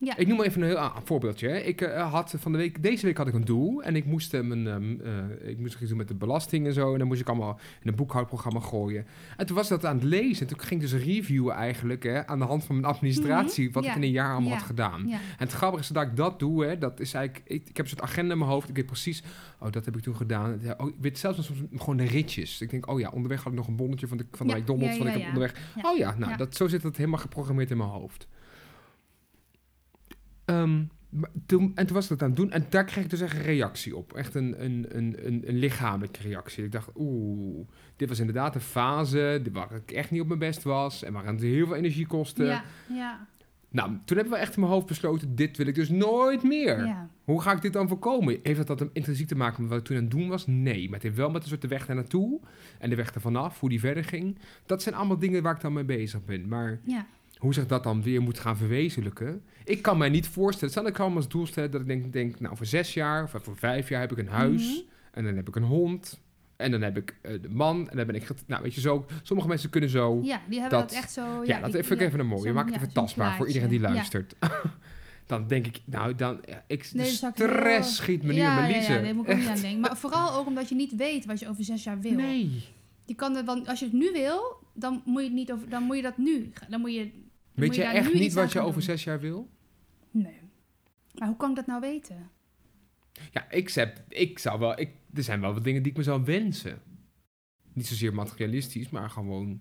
ja. Ik noem even een heel ah, voorbeeldje. Hè. Ik eh, had van de week, deze week had ik een doel en ik moest, eh, mijn, ehm, eh, ik moest iets doen met de belasting en zo. En dan moest ik allemaal in een boekhoudprogramma gooien. En toen was ik dat aan het lezen. En toen ging ik dus reviewen eigenlijk hè, aan de hand van mijn administratie, Mhm, wat ja. ik in een jaar allemaal Ja. had gedaan. ja. En het grappige is dat ik dat doe, hè, dat is eigenlijk, ik, ik heb een soort agenda in mijn hoofd. Ik weet precies, oh, dat heb ik toen gedaan. Ja, Oh, ik weet zelfs nog soms gewoon de ritjes. Ik denk, oh ja, onderweg had ik nog een bonnetje van de, van de Ja, McDonald's, ja, van ja, ik heb ja. onderweg. Ja. Oh ja, nou, Ja. Dat, zo zit dat helemaal geprogrammeerd in mijn hoofd. Ehm, maar toen, en toen was ik dat aan het doen en daar kreeg ik dus echt een reactie op. Echt een, een, een, een, een lichamelijke reactie. Ik dacht, oeh, dit was inderdaad een fase waar ik echt niet op mijn best was en waar het heel veel energie kostte. ja, ja, Nou, toen hebben we echt in mijn hoofd besloten, dit wil ik dus nooit meer. ja. Hoe ga ik dit dan voorkomen? Heeft dat dat intrinsiek te maken met wat ik toen aan het doen was? Nee, maar het heeft wel met een soort de weg daar naartoe en de weg er vanaf, hoe die verder ging. Dat zijn allemaal dingen waar ik dan mee bezig ben. Maar ja. hoe zich dat dan weer moet gaan verwezenlijken, ik kan mij niet voorstellen. Stel dat ik gewoon als doel stel dat ik denk, denk, nou voor zes jaar of voor vijf jaar heb ik een huis en dan heb ik een hond en dan heb ik eh, de man en dan ben ik, get- nou weet je zo, sommige mensen kunnen zo Ja, die hebben dat, Dat- echt zo... ja, dat die- vind ik even een mooie. zo'n- Maak het Oh ja, even zo'n tastbaar voor iedereen die plaatje. luistert. [LAUGHS] dan denk ik, nou, dan, ja, ik, Nee, de dat zou ik heel- stress schiet me nu ja, in mijn Ja, liezen. ja, daar moet ik ook niet aan denken. Maar vooral ook omdat je niet weet wat je over zes jaar wil. nee. Je kan er, want als je het nu wil, dan moet je, het niet over, dan moet je dat nu... Dan moet je, dan moet Weet je daar echt nu niet iets aan wat je gaan over doen. zes jaar wil? Nee. Maar hoe kan ik dat nou weten? Ja, ik, heb, ik zou wel, ik, er zijn wel wat dingen die ik me zou wensen. Niet zozeer materialistisch, maar gewoon,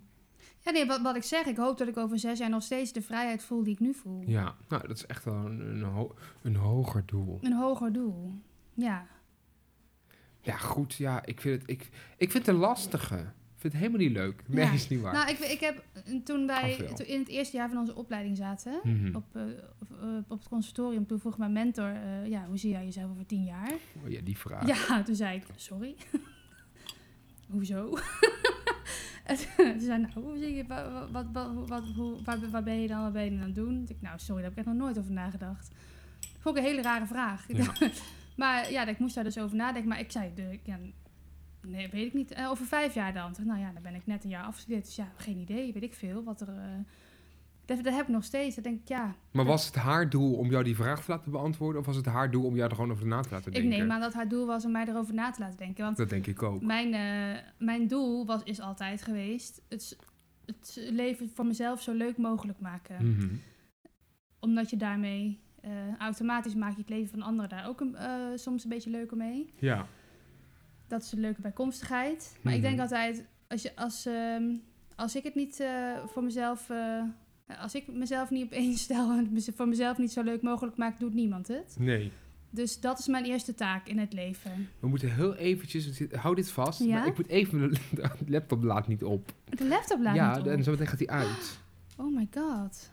Ja, nee, wat, wat ik zeg, ik hoop dat ik over zes jaar nog steeds de vrijheid voel die ik nu voel. ja, nou, dat is echt wel een, een, ho- een hoger doel. Een hoger doel. Ja. Ja, goed, ja, ik vind het, ik, ik vind het een lastige. Ik vind het helemaal niet leuk. Nee, Ja. is niet waar. Nou, ik, ik heb eh, toen wij Af wel. toen in het eerste jaar van onze opleiding zaten Mhm. op, eh, op, eh, op het conservatorium, toen vroeg mijn mentor, eh, ja, hoe zie jij jezelf over tien jaar? Oh, ja, die vraag. Ja, toen zei ik, sorry. [LAUGHS] Hoezo? [LAUGHS] En toen zei nou, hoe zie je, wa- wa- wat, wat, wat, hoe, waar, waar ben je dan, wat ben je dan aan het doen? Toen dacht ik, nou, sorry, daar heb ik echt nog nooit over nagedacht. Vond ik een hele rare vraag. Ja. [LAUGHS] maar ja, ik moest daar dus over nadenken. Maar ik zei, de, ja, nee, weet ik niet. Eh, over vijf jaar dan. Toen dacht ik, nou ja, dan ben ik net een jaar afgestudeerd. Dus ja, geen idee, weet ik veel. Wat er, eh, dat, dat heb ik nog steeds. Dan denk ik, ja, Maar was het haar doel om jou die vraag te laten beantwoorden? Of was het haar doel om jou er gewoon over na te laten ik denken? neem aan dat haar doel was om mij erover na te laten denken. Want Dat denk ik ook. Mijn, eh, mijn doel was, is altijd geweest het, s- het leven voor mezelf zo leuk mogelijk maken. Mhm. Omdat je daarmee eh, automatisch maak je het leven van anderen daar ook een, eh, soms een beetje leuker mee. Ja. Dat is een leuke bijkomstigheid. Maar ik Mhm. denk altijd, als, je, als, ehm, als ik het niet eh, voor mezelf. eh, als ik mezelf niet op één stel en het mez- voor mezelf niet zo leuk mogelijk maak, doet niemand het. Nee. Dus dat is mijn eerste taak in het leven. We moeten heel eventjes... want dit- Hou dit vast. Ja? maar ik moet even... [LAUGHS] De laptop laat niet op. De laptop laat ja, niet op. en zo meteen gaat hij uit. Oh my god.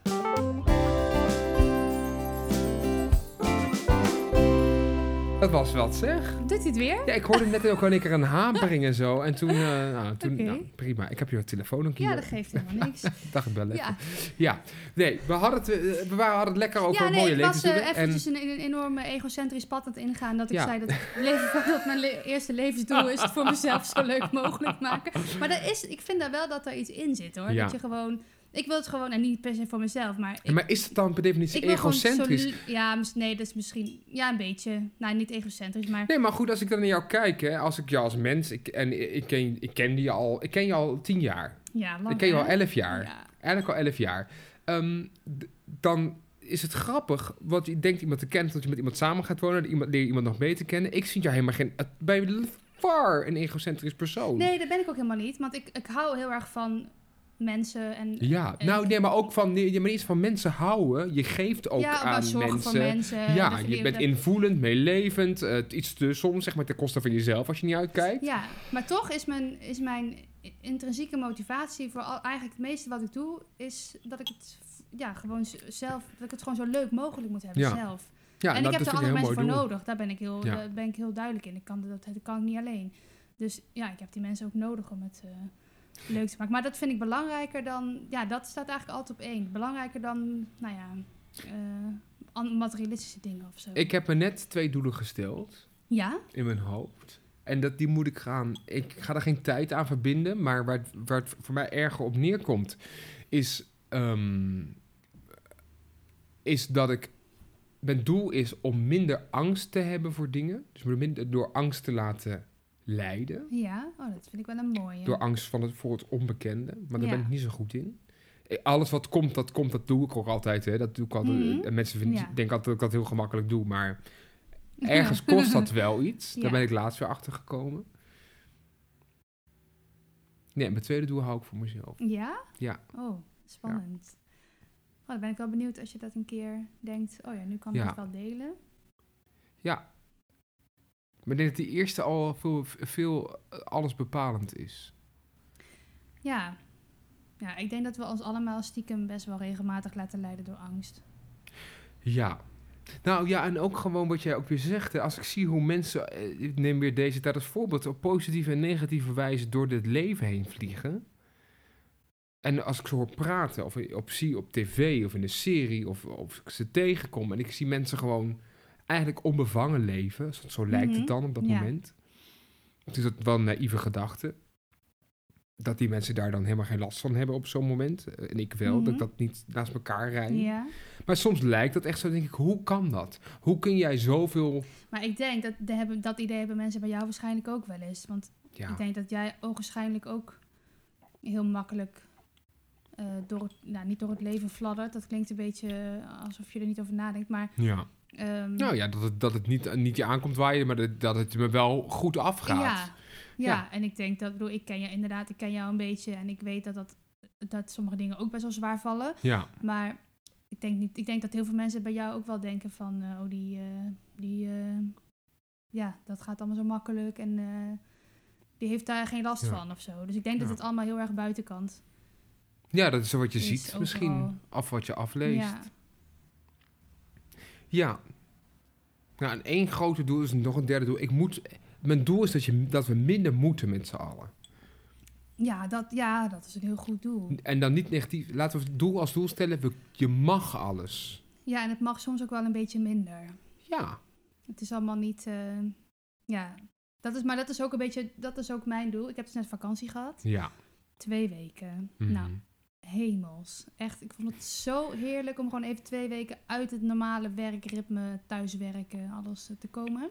Dat was wat, zeg. Doet hij het weer? Ja, ik hoorde net ook al een keer een hapering en zo. En toen... eh, nou, toen Oké. nou, prima. Ik heb je telefoon ook hier. Ja, dat geeft helemaal niks. Dag, ik bel even. ja, Ja, nee, we hadden het, eh, we waren, hadden het lekker over ja het nee, mooie ik leven. was eh, natuurlijk. En- eventjes een, een enorme egocentrisch pad aan het ingaan. Dat ik Ja. zei dat, het leven, dat mijn le- eerste levensdoel is het voor mezelf zo leuk mogelijk maken. Maar dat is, ik vind daar wel dat er iets in zit hoor. Ja. Dat je gewoon, ik wil het gewoon, en niet per se voor mezelf, maar ik, maar is het dan per definitie ik wil gewoon zo egocentrisch? lu- Ja, mis- nee, dat is misschien, ja een beetje. Nou, niet egocentrisch, maar Nee, maar goed, als ik dan naar jou kijk, hè, als ik jou als mens, ik, en ik ken, ik ken je al, ik ken je al tien jaar. ja, lang ik ken je hè? al elf jaar. Ja. Eigenlijk al elf jaar. Ehm, d- dan is het grappig, want je denkt iemand te kennen, dat je met iemand samen gaat wonen, dat iemand, leer je iemand nog beter kennen. Ik vind jou helemaal geen, eh, bij far een egocentrisch persoon. Nee, dat ben ik ook helemaal niet. Want ik, ik hou heel erg van mensen en Ja, En- nou nee, maar ook van, nee, maar iets van mensen houden. Je geeft ook ja, maar aan zorg mensen. voor mensen. eh, Ja, dat je bent dat- invoelend, meelevend. eh, iets te soms, zeg maar, ten koste van jezelf als je niet uitkijkt. Ja, maar toch is mijn, is mijn i- intrinsieke motivatie voor al, eigenlijk het meeste wat ik doe, is dat ik het v- ja, gewoon z- zelf, dat ik het gewoon zo leuk mogelijk moet hebben Ja. zelf. Ja, en nou, dat ik heb er vind andere een heel mensen voor mooi doel. nodig. Daar ben ik heel, Ja. daar ben ik heel duidelijk in. Ik kan dat, dat kan ik niet alleen. Dus ja, ik heb die mensen ook nodig om het eh, leuk te maken. Maar dat vind ik belangrijker dan. Ja, dat staat eigenlijk altijd op één. Belangrijker dan, nou ja, eh, an- materialistische dingen of zo. Ik heb me net twee doelen gesteld Ja? in mijn hoofd. En dat, die moet ik gaan. Ik ga daar geen tijd aan verbinden. Maar waar het, waar het voor mij erger op neerkomt, is, ehm, is dat ik. Mijn doel is om minder angst te hebben voor dingen. Dus me minder door angst te laten leiden. Ja? Oh, dat vind ik wel een mooie. [LAUGHS] Door angst van het, voor het onbekende. Maar daar Ja. ben ik niet zo goed in. Eh, Alles wat komt, dat komt, dat doe ik ook altijd. Hè. Dat doe ik altijd. Mhm. En mensen vinden, Ja. denken altijd dat ik dat heel gemakkelijk doe. Maar ergens kost dat wel iets. Daar Ja. ben ik laatst weer achter gekomen. Nee, mijn tweede doel hou ik voor mezelf. Ja? Ja. Oh, spannend. Oh, dan ben ik wel benieuwd als je dat een keer denkt. Oh ja, nu kan ik Ja. het wel delen. Maar ik denk dat die eerste al veel, veel eh, alles bepalend is. Ja. Ja, ik denk dat we ons allemaal stiekem best wel regelmatig laten leiden door angst. Ja. Nou ja, en ook gewoon wat jij ook weer zegt. hè, Als ik zie hoe mensen, eh, ik neem weer deze tijd als voorbeeld, op positieve en negatieve wijze door dit leven heen vliegen. En als ik ze hoor praten, of op zie op tv of in een serie, of, of ik ze tegenkom en ik zie mensen gewoon eigenlijk onbevangen leven. Zo, zo lijkt Mhm, het dan op dat ja. moment. Het is dat wel een naïeve gedachte. Dat die mensen daar dan helemaal geen last van hebben op zo'n moment. Eh, En ik wel, dat ik Mhm. dat niet naast elkaar rijd. Ja. Maar soms lijkt dat echt zo, denk ik, hoe kan dat? Hoe kun jij zoveel... Maar ik denk dat de hebben, dat idee hebben mensen bij jou waarschijnlijk ook wel eens. Want Ja, ik denk dat jij ogenschijnlijk ook heel makkelijk eh, door het, nou, niet door het leven fladdert. Dat klinkt een beetje eh, alsof je er niet over nadenkt. Maar ja. ehm, Nou ja, dat het, dat het niet, niet je aankomt waaien, maar dat, dat het me wel goed afgaat. Ja, ja. Ja. en ik denk dat, bedoel, ik ken je inderdaad, ik ken jou een beetje en ik weet dat, dat, dat sommige dingen ook best wel zwaar vallen. Ja, Maar ik denk, niet, ik denk dat heel veel mensen bij jou ook wel denken van, eh, oh die, eh, die eh, ja, dat gaat allemaal zo makkelijk en eh, die heeft daar geen last Ja. van of zo. Dus ik denk dat Ja. het allemaal heel erg buitenkant ja dat is zo wat je Is ziet overal. misschien, af wat je afleest. Ja, Ja. Nou, en één grote doel is nog een derde doel. Ik moet, mijn doel is dat, je, dat we minder moeten met z'n allen. ja, dat, ja, dat is een heel goed doel. En dan niet negatief. Laten we het doel als doel stellen, we, je mag alles. Ja, en het mag soms ook wel een beetje minder. Ja, Het is allemaal niet. eh, ja, dat is, maar dat is ook een beetje. Dat is ook mijn doel. Ik heb dus net vakantie gehad. ja. Twee weken. Mhm. Nou, hemels. Echt, ik vond het zo heerlijk om gewoon even twee weken uit het normale werkritme, thuiswerken, alles eh, te komen.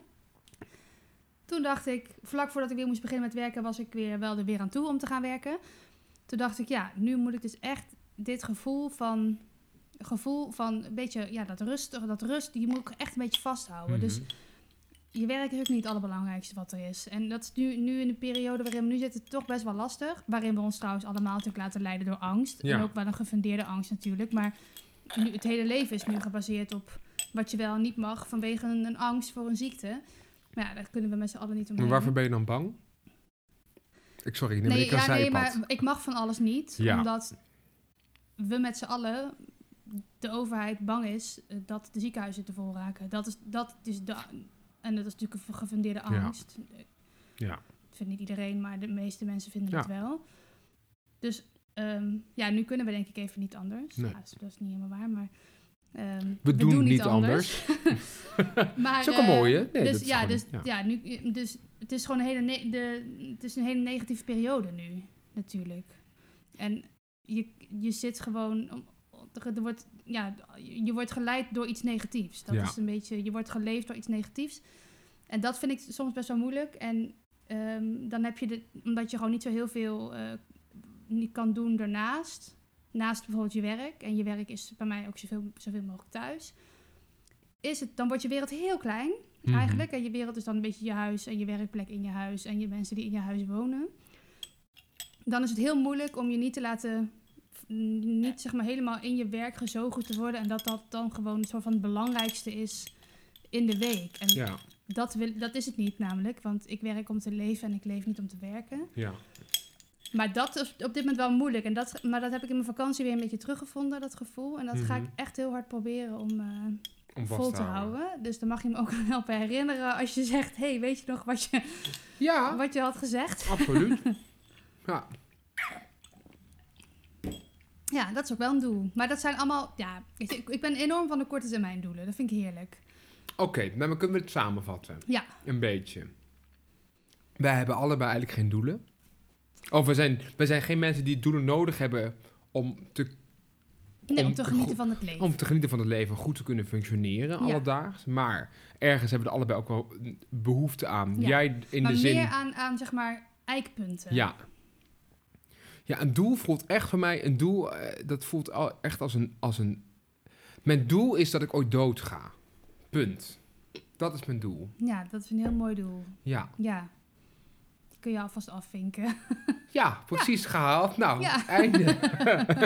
Toen dacht ik, vlak voordat ik weer moest beginnen met werken, was ik weer wel er weer aan toe om te gaan werken. Toen dacht ik, ja, nu moet ik dus echt dit gevoel van... Gevoel van een beetje, ja, dat rustig, dat rust, die moet ik echt een beetje vasthouden. Dus Mhm. je werk is ook niet het allerbelangrijkste wat er is. En dat is nu, nu in de periode waarin we nu zitten toch best wel lastig. Waarin we ons trouwens allemaal natuurlijk laten leiden door angst. Ja. En ook wel een gefundeerde angst natuurlijk. Maar nu, het hele leven is nu gebaseerd op wat je wel en niet mag vanwege een, een angst voor een ziekte. Maar ja, daar kunnen we met z'n allen niet omheen. Maar waarvoor ben je dan bang? Ik sorry, neem ik een ja, Mhm. nee, zijpad. maar ik mag van alles niet. Ja. Omdat we met z'n allen, de overheid, bang is eh, dat de ziekenhuizen te vol raken. Dat is, dat is de, en dat is natuurlijk een ge- gefundeerde Ja. angst. Eh, Ja. Dat vindt niet iedereen, maar de meeste mensen vinden Ja. het wel. Dus ehm, ja, nu kunnen we denk ik even niet anders. Nee. Ja, dat, is, dat is niet helemaal waar, maar... ehm, We, doen, niet [LAUGHS] maar, Dat is ook een eh, mooie. Nee, dat dus, is ja, gewoon- dus, ja. nu, dus het is gewoon een hele, ne- de, het is een hele negatieve periode nu, natuurlijk. En je, je zit gewoon, om- er wordt, ja, je wordt geleid door iets negatiefs. Dat Ja. is een beetje, je wordt geleefd door iets negatiefs. En dat vind ik soms best wel moeilijk. En ehm, dan heb je, de, omdat je gewoon niet zo heel veel eh, niet kan doen daarnaast. Naast bijvoorbeeld je werk. En je werk is bij mij ook zoveel, zoveel mogelijk thuis. Is het, dan wordt je wereld heel klein Mhm. eigenlijk. En je wereld is dan een beetje je huis en je werkplek in je huis en je mensen die in je huis wonen. Dan is het heel moeilijk om je niet te laten, n- niet zeg maar helemaal in je werk gezogen te worden. En dat dat dan gewoon een soort van het belangrijkste is in de week. En Ja, dat, wil, dat is het niet namelijk, want ik werk om te leven en ik leef niet om te werken. ja. Maar dat is op dit moment wel moeilijk. En dat, maar dat heb ik in mijn vakantie weer een beetje teruggevonden, dat gevoel. En dat ga ik Mhm. echt heel hard proberen om... eh, Om vast vol te houden. Dus dan mag je me ook aan helpen herinneren als je zegt... hey, weet je nog wat je, Ja, [LAUGHS] wat je had gezegd? absoluut. ja. Ja, dat is ook wel een doel. Maar dat zijn allemaal... Ja, weet je, ik, ik ben enorm van de korte termijn doelen. Dat vind ik heerlijk. Oké, nou, dan kunnen we het samenvatten. Ja. Een beetje. Wij hebben allebei eigenlijk geen doelen. Of we zijn, we zijn geen mensen die doelen nodig hebben om te Nee, om, Om te te genieten goed- van het leven. Om te genieten van het leven, goed te kunnen functioneren Ja. alledaags. Maar ergens hebben we er allebei ook wel een behoefte aan. Ja. Jij in maar de zin... meer aan, aan, zeg maar, eikpunten. Ja. Ja, een doel voelt echt voor mij... Een doel, eh, dat voelt al echt als een, als een... Mijn doel is dat ik ooit dood ga. Punt. Dat is mijn doel. Ja, dat is een heel mooi doel. Ja, Ja. Die kun je alvast afvinken. ja precies gehaald. Nou, Ja. einde.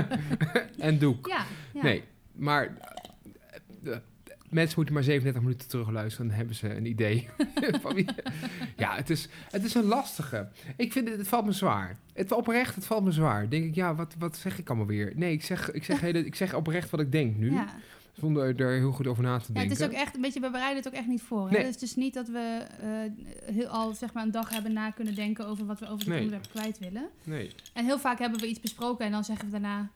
[LAUGHS] en doek. ja, ja. Nee, maar eh, eh, mensen moeten maar 37 minuten terugluisteren, dan hebben ze een idee. [LAUGHS] van wie- ja, het is, het is een lastige. Ik vind het, het valt me zwaar. Het oprecht, het valt me zwaar. Denk ik, ja, wat, wat zeg ik allemaal weer? Nee, ik zeg, ik [LAUGHS] zeg, hele, ik zeg oprecht wat ik denk nu, Ja. zonder er heel goed over na te Ja, het denken. is ook echt een beetje, we bereiden het ook echt niet voor. Hè? Nee. Dus het is niet dat we eh, heel al zeg maar, een dag hebben na kunnen denken over wat we over het Nee. onderwerp kwijt willen. Nee, En heel vaak hebben we iets besproken en dan zeggen we daarna...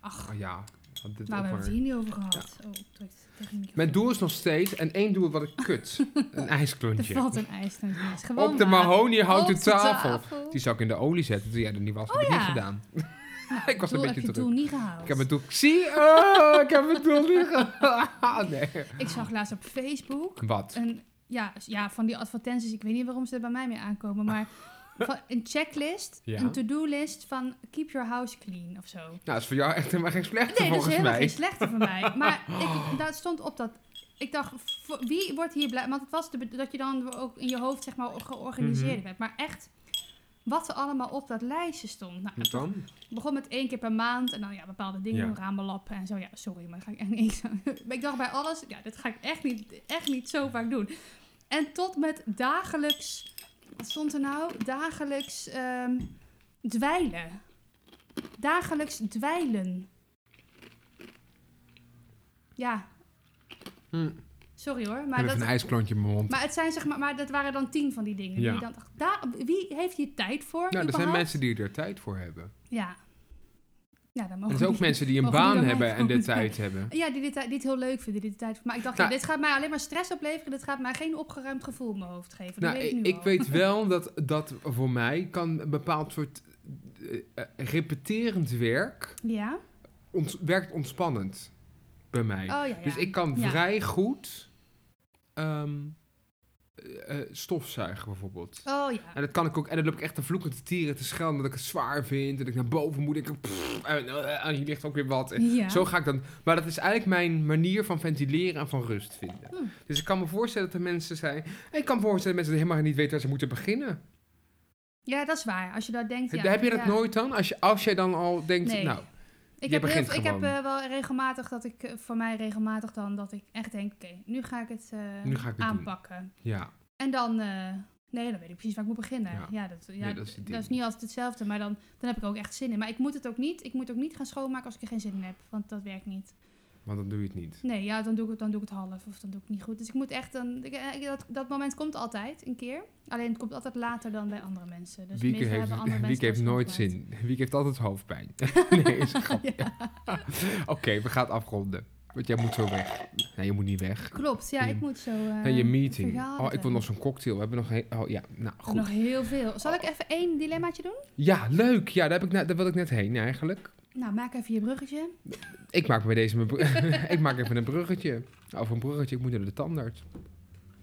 Ach, oh, ja. want dit waar ook hebben we maar- het hier niet over gehad? Oh, ik druk het tegen de microfoon. Mijn doel is nog steeds, en één doel wat ik kut, [LAUGHS] een Er ijsklontje. valt een ijs langs de ijs. Gewoon Op de maar. mahoniehouten Op de tafel. Die [LAUGHS] zou ik in de olie zetten. Toen jij er niet was, heb ik Oh ja. niet gedaan. ik was Doel, een Nou, heb beetje je het druk. doel niet gehaald. Ik heb het doel... Zie, oh, ik heb het doel niet gehaald. [LAUGHS] nee. Ik zag laatst op Facebook Wat? Nou, een, ja, s- ja, van die advertenties. Ik weet niet waarom ze er bij mij mee [LAUGHS] aankomen, maar... van een checklist, Ja. een to-do-list van keep your house clean of zo. Nou, is voor jou echt helemaal geen slechte Nee, dat is volgens helemaal mij. Oh. geen slechte voor mij. Maar [LAUGHS] ik, daar stond op dat... Ik dacht, voor- wie wordt hier blij... Want het was de, be- dat je dan ook in je hoofd zeg maar georganiseerd Mhm. werd. Maar echt, wat er allemaal op dat lijstje stond. Nou, Wat het dan? begon met één keer per maand. En dan ja, bepaalde dingen, Ja. doen, ramen lappen en zo. Ja, sorry, maar dat ga ik echt niet zo... [LAUGHS] Maar ik dacht bij alles, ja, dat ga ik echt niet, echt niet zo vaak doen. En tot met dagelijks... Wat stond er nou? Dagelijks ehm, dweilen. Dagelijks dweilen. Ja, Hm. sorry hoor. Maar Maar, ik heb dat, even een ijsklontje in mijn mond. maar, het zijn zeg maar, maar dat waren dan tien van die dingen. Ja. Die dan, dacht, daar, wie heeft hier tijd voor? nou, er zijn überhaupt? mensen die er tijd voor Oh, hebben. Ja. Ja, dan Er mogen zijn ook die- mensen die een mogen die baan door hebben mij en de [LAUGHS] komen? tijd hebben. Ja, die dit, die het heel leuk vinden, die dit tijd. Maar ik dacht, Nou- ja, dit gaat mij alleen maar stress opleveren. Dit gaat mij geen opgeruimd gevoel in mijn hoofd geven. Dat Nou, weet ik, ik, nu ik al. [LAUGHS] weet wel dat, dat voor mij kan een bepaald soort eh, eh, repeterend werk... Ja? Oh Ont, werkt ontspannend bij mij. ja, ja. Dus ik kan Ja. vrij goed ehm, eh, eh, stofzuigen bijvoorbeeld. Oh ja. En dat kan ik ook. En dan loop ik echt te vloeken, te tieren, te schelden. Dat ik het zwaar vind. Dat ik naar boven moet. En, ik, pff, en, eh, en hier ligt ook weer wat. En Ja. Zo ga ik dan. Maar dat is eigenlijk mijn manier van ventileren en van rust vinden. Hm. Dus ik kan me voorstellen dat er mensen zijn. En ik kan me voorstellen dat mensen helemaal niet weten waar ze moeten beginnen. ja, dat is waar. Als je dat denkt. Ja, heb je dat ja. nooit dan? Als, je, als jij dan al denkt. Nee. Nou, Ik Je heb, heel, begint veel- ik heb gewoon. eh, wel regelmatig dat ik, eh, voor mij regelmatig dan, dat ik echt denk, oké, nu ga ik het eh, Nu ga ik het doen. aanpakken. ja. En dan, eh, nee, dan weet ik precies waar ik moet beginnen. Ja, Ja. dat, ja, Nee, dat, dat is is het ding. niet altijd hetzelfde, maar dan, dan heb ik ook echt zin in. Maar ik moet het ook niet, ik moet ook niet gaan schoonmaken als ik er geen zin in heb, want dat werkt niet. Dus Want dan doe je het niet. Nee, ja, dan doe ik het, dan doe ik het half of dan doe ik het niet goed. Dus ik moet echt, dan, ik- eh, dat, dat moment komt altijd een keer. Alleen het komt altijd later dan bij andere mensen. Dus Wieke meestal heeft, hebben andere [LAUGHS] Wieke mensen heeft wel nooit schoongemaakt. zin. Wieke heeft altijd [LAUGHS] hoofdpijn. [LAUGHS] nee, is een grapje. [LAUGHS] Oké, we gaan het afronden. Want jij moet zo weg. Nee, je moet niet weg. Klopt, ja, Je- ik moet zo... eh, Nee, je meeting. vergaderen. Oh, ik wil nog zo'n cocktail. We hebben nog een... Oh, ja, nou, Ik heb goed. Oh. Nog heel veel. Zal ik even één dilemmaatje doen? Ja, leuk. Ja, daar, heb ik net- daar wil ik net heen eigenlijk. Nou, maak even je bruggetje. Ik maak bij deze... [LAUGHS] mijn br- [LAUGHS] ik maak even een bruggetje. Over een bruggetje. Ik moet naar de tandarts.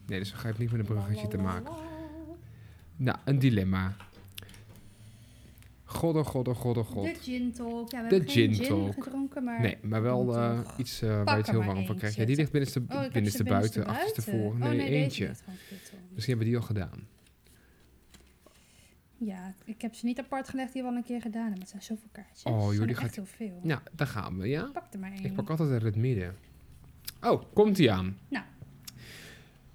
Nee, dus ik ga even niet met een bruggetje te maken. Nou, een dilemma. Godde, godde, godde, god. De gin talk. Ja, we De hebben geen gin gin talk. gedronken, maar... Nee, maar wel eh, iets eh, waar je het heel er maar warm van eentje. krijgt. Ja, die ligt binnenste, Oh, ik heb binnenste ze buiten, achterstevoren. Nee, Oh, deze eentje. ligt gewoon verkeerd om. Misschien hebben we die al gedaan. Ja, ik heb ze niet apart gelegd. Die hebben we al een keer gedaan. Maar het zijn zoveel kaartjes. Oh, joh, Het zijn die er gaat- echt heel veel. Nou, daar gaan we, ja? Pak er maar één. Ik pak altijd uit het midden. Oh, komt ie aan. Nou.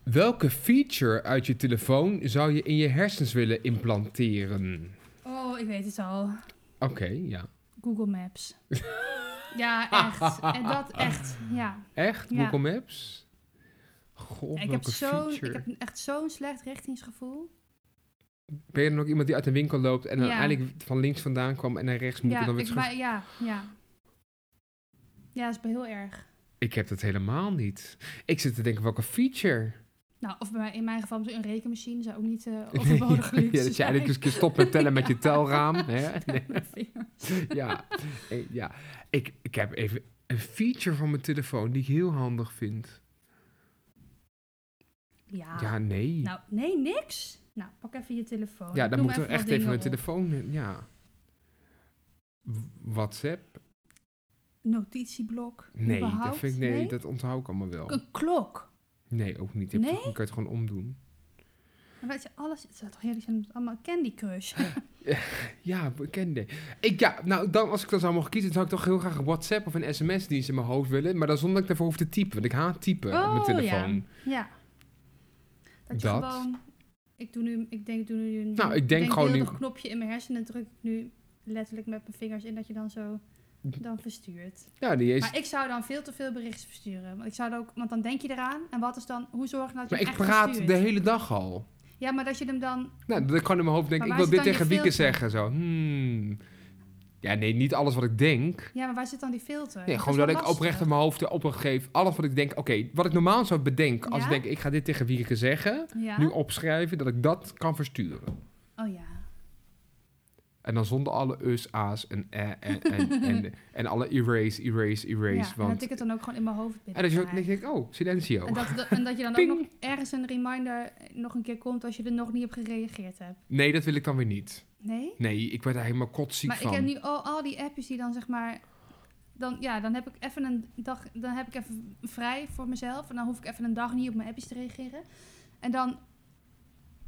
Welke feature uit je telefoon zou je in je hersens willen implanteren? Oh, ik weet het al. Oké, ja. Google [LAUGHS] Maps. ja, echt. En dat echt, ja. Echt? Ja. Google Maps? God, ik, heb welke zo'n, feature? ik heb echt zo'n slecht richtingsgevoel. Ben je dan ook iemand die uit een winkel loopt en dan Ja. eigenlijk van links vandaan kwam en naar rechts moet ja, en dan weer ik, terug? maar, ja, ja. Ja, dat is bij heel erg. Ik heb dat helemaal niet. Ik zit te denken, welke feature? Nou, of bij mij, in mijn geval een rekenmachine zou ook [LAUGHS] niet eh overbodig ja, luxe dat dus- je zijn. eigenlijk eens [LAUGHS] een keer stopt met tellen met je telraam. Hè? Nee. Mijn vinger. [LAUGHS] ja, eh, ja. Ik, ik heb even een feature van mijn telefoon die ik heel handig vind. Ja. Ja, nee. Nou, nee, niks. Nou, pak even je telefoon. ja, Doe dan moet maar er echt wat even een dingen op. telefoon in. Ja. W- WhatsApp? Notitieblok. Nee, überhaupt. dat, vind ik, nee, dat onthoud ik allemaal wel. Een klok. Nee, ook niet. Je hebt- Nee? Je kan het gewoon omdoen. Dan weet je alles. Het zou toch heerlijk zijn om het allemaal Candy [LAUGHS] Crush. Ja, bekende. Ik, ja, nou, dan, als ik dat zou mogen kiezen, dan zou ik toch heel graag een WhatsApp of een sms-dienst in mijn hoofd willen. Maar dan zonder dat ik daarvoor hoef te typen, want ik haat typen op mijn Oh, telefoon. ja. ja. Dat je Dat. gewoon... Ik doe nu... Ik denk, doe nu een Nou, ik denk gewoon nu- een knopje in mijn hersenen en druk ik nu letterlijk met mijn vingers in dat je dan zo... Dan verstuurt. Ja, die is. Maar ik zou dan veel te veel berichten versturen. Want, ik zou dan ook, want dan denk je eraan. En wat is dan... Hoe zorg je dat je Maar hem ik echt praat verstuurt? de hele dag al. Ja, maar dat je hem dan... Nou, dat ik gewoon in mijn hoofd denk, Maar ik waar wil dit zit dan tegen je Wieke zeggen. filter? Zo, hmm. Ja, nee, niet alles wat ik denk. Ja, maar waar zit dan die filter? Nee, is gewoon wel dat ik lastig. oprecht in mijn hoofd de opdracht geef. Alles wat ik denk, oké, wat ik normaal zou bedenken als Ja? ik denk, ik ga dit tegen Wieke zeggen. Ja? Nu opschrijven, dat ik dat kan versturen. Oh ja. En dan zonder alle us, a's en eh, en, en, [LAUGHS] en, en alle erase, erase, ja. erase. En want... dat ik het dan ook gewoon in mijn hoofd binnen En dat je ook krijg. denkt, oh, silencio. En dat, en dat je dan ook Ping. nog ergens een reminder eh, nog een keer komt als je er nog niet op gereageerd hebt. Nee, dat wil ik dan weer niet. Nee? Nee, ik werd daar helemaal kotziek maar van. ik heb nu al, al die appjes die dan zeg maar... Dan, ja, dan heb ik even een dag... Dan heb ik even vrij voor mezelf. En dan hoef ik even een dag niet op mijn appjes te reageren. En dan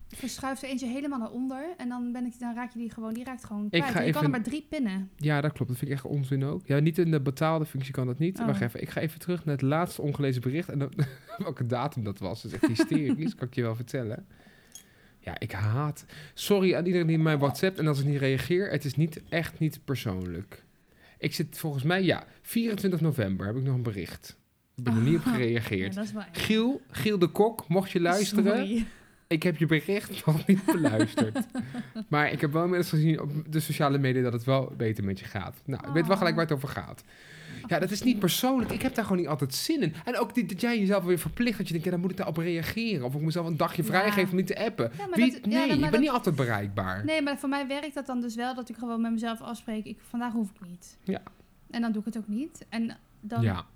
verschuift er eentje helemaal naar onder. En dan, ben ik, dan raak je die gewoon... Die raakt gewoon kwijt. ga En je kan even- er maar drie pinnen. Ja, dat klopt. Dat vind ik echt onzin ook. Ja, niet in de betaalde functie kan dat niet. Oh. Wacht even, ik ga even terug naar het laatste ongelezen bericht. En dan, [LAUGHS] welke datum dat was. Dat is echt hysterisch, kan ik je wel vertellen. Ja, ik haat... Sorry aan iedereen die mij WhatsApp en als ik niet reageer. Het is niet, echt niet persoonlijk. Ik zit volgens mij, ja, 24 november heb ik nog een bericht. Ik ben er [LAUGHS] niet op Ja, gereageerd. dat is wel echt. Giel, Giel de Kok, mocht je luisteren. Sorry. Ik heb je bericht [LAUGHS] nog niet [LAUGHS] beluisterd. maar ik heb wel inmiddels gezien op de sociale media dat het wel beter met je gaat. Nou, ik weet wel Ah. gelijk waar het over gaat. Ja, dat is niet persoonlijk. Ik heb daar gewoon niet altijd zin in. En ook die, dat jij jezelf weer verplicht. Dat je denkt, ja, dan moet ik daarop reageren. Of ik mezelf een dagje Ja. vrijgeven om niet te appen. Ja, maar Wie- dat- ja, nee, maar ik ben dat- niet altijd bereikbaar. Nee, maar voor mij werkt dat dan dus wel dat ik gewoon met mezelf afspreek. Ik, vandaag hoef ik niet. Ja. En dan doe ik het ook niet. En dan, Ja,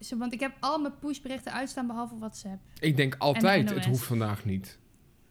Zo, want ik heb al mijn pushberichten uitstaan behalve WhatsApp. Ik denk altijd, het En NOS. hoeft vandaag niet.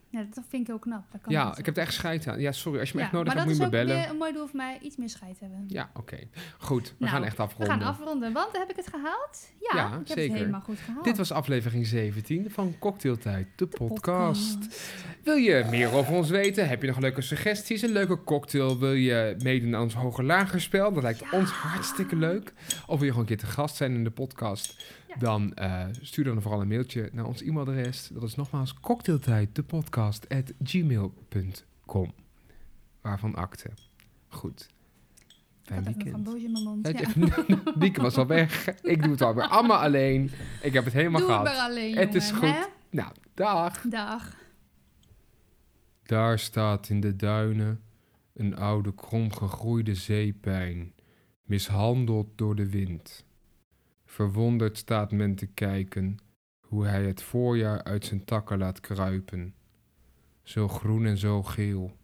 Ja, dat vind ik heel knap. Dat kan Ja, niet. ik heb er echt scheid aan. Ja, sorry, als je me Ja, echt nodig maar hebt, dat moet is je me ook bellen. weer een mooi doel voor mij. Iets meer scheid hebben. Ja, oké. Goed, we Nou, gaan echt We afronden. gaan afronden, want heb ik het gehaald? Ja, Ja, ik heb zeker. het helemaal goed gehaald. Dit was aflevering 17 van Cocktailtijd, de, Ah. De podcast. Wil je meer over ons weten? Heb je nog leuke suggesties? Een leuke cocktail? Wil je meedoen aan ons hoger lager spel? Dat lijkt ons hartstikke leuk. Of wil je gewoon een keer te gast zijn in de podcast? Ja. Dan eh, stuur dan vooral een mailtje naar ons e-mailadres. Dat is nogmaals cocktailtijd, de podcast, at gmail.com. Waarvan akte. Goed. Ik had Fijn even een weekend. framboosje in mijn mond. Ja. [LAUGHS] Het- Dieke was al weg. Ik doe het alweer allemaal alleen. Ik heb het helemaal Doe het gehad. maar alleen, Het is jongen, hè? Nou, dag. Dag. Daar staat in de duinen een oude kromgegroeide zeepijn, mishandeld door de wind. Verwonderd staat men te kijken hoe hij het voorjaar uit zijn takken laat kruipen. Zo groen en zo geel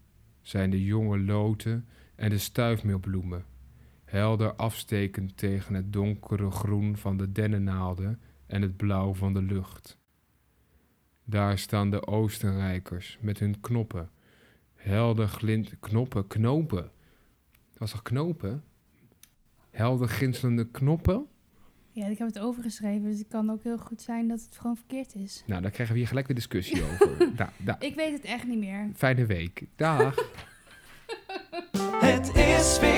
zijn de jonge loten en de stuifmeelbloemen, helder afstekend tegen het donkere groen van de dennennaalden en het blauw van de lucht. Daar staan de Oostenrijkers met hun knoppen. Helder glint... Knoppen? Knopen? Dat was toch knopen? Helder glinsterende knoppen? Ja, ik heb het overgeschreven, dus het kan ook heel goed zijn dat het gewoon verkeerd is. Nou, daar krijgen we hier gelijk weer discussie over. Da, da. Ik weet het echt niet meer. Fijne week. Dag. Het is weer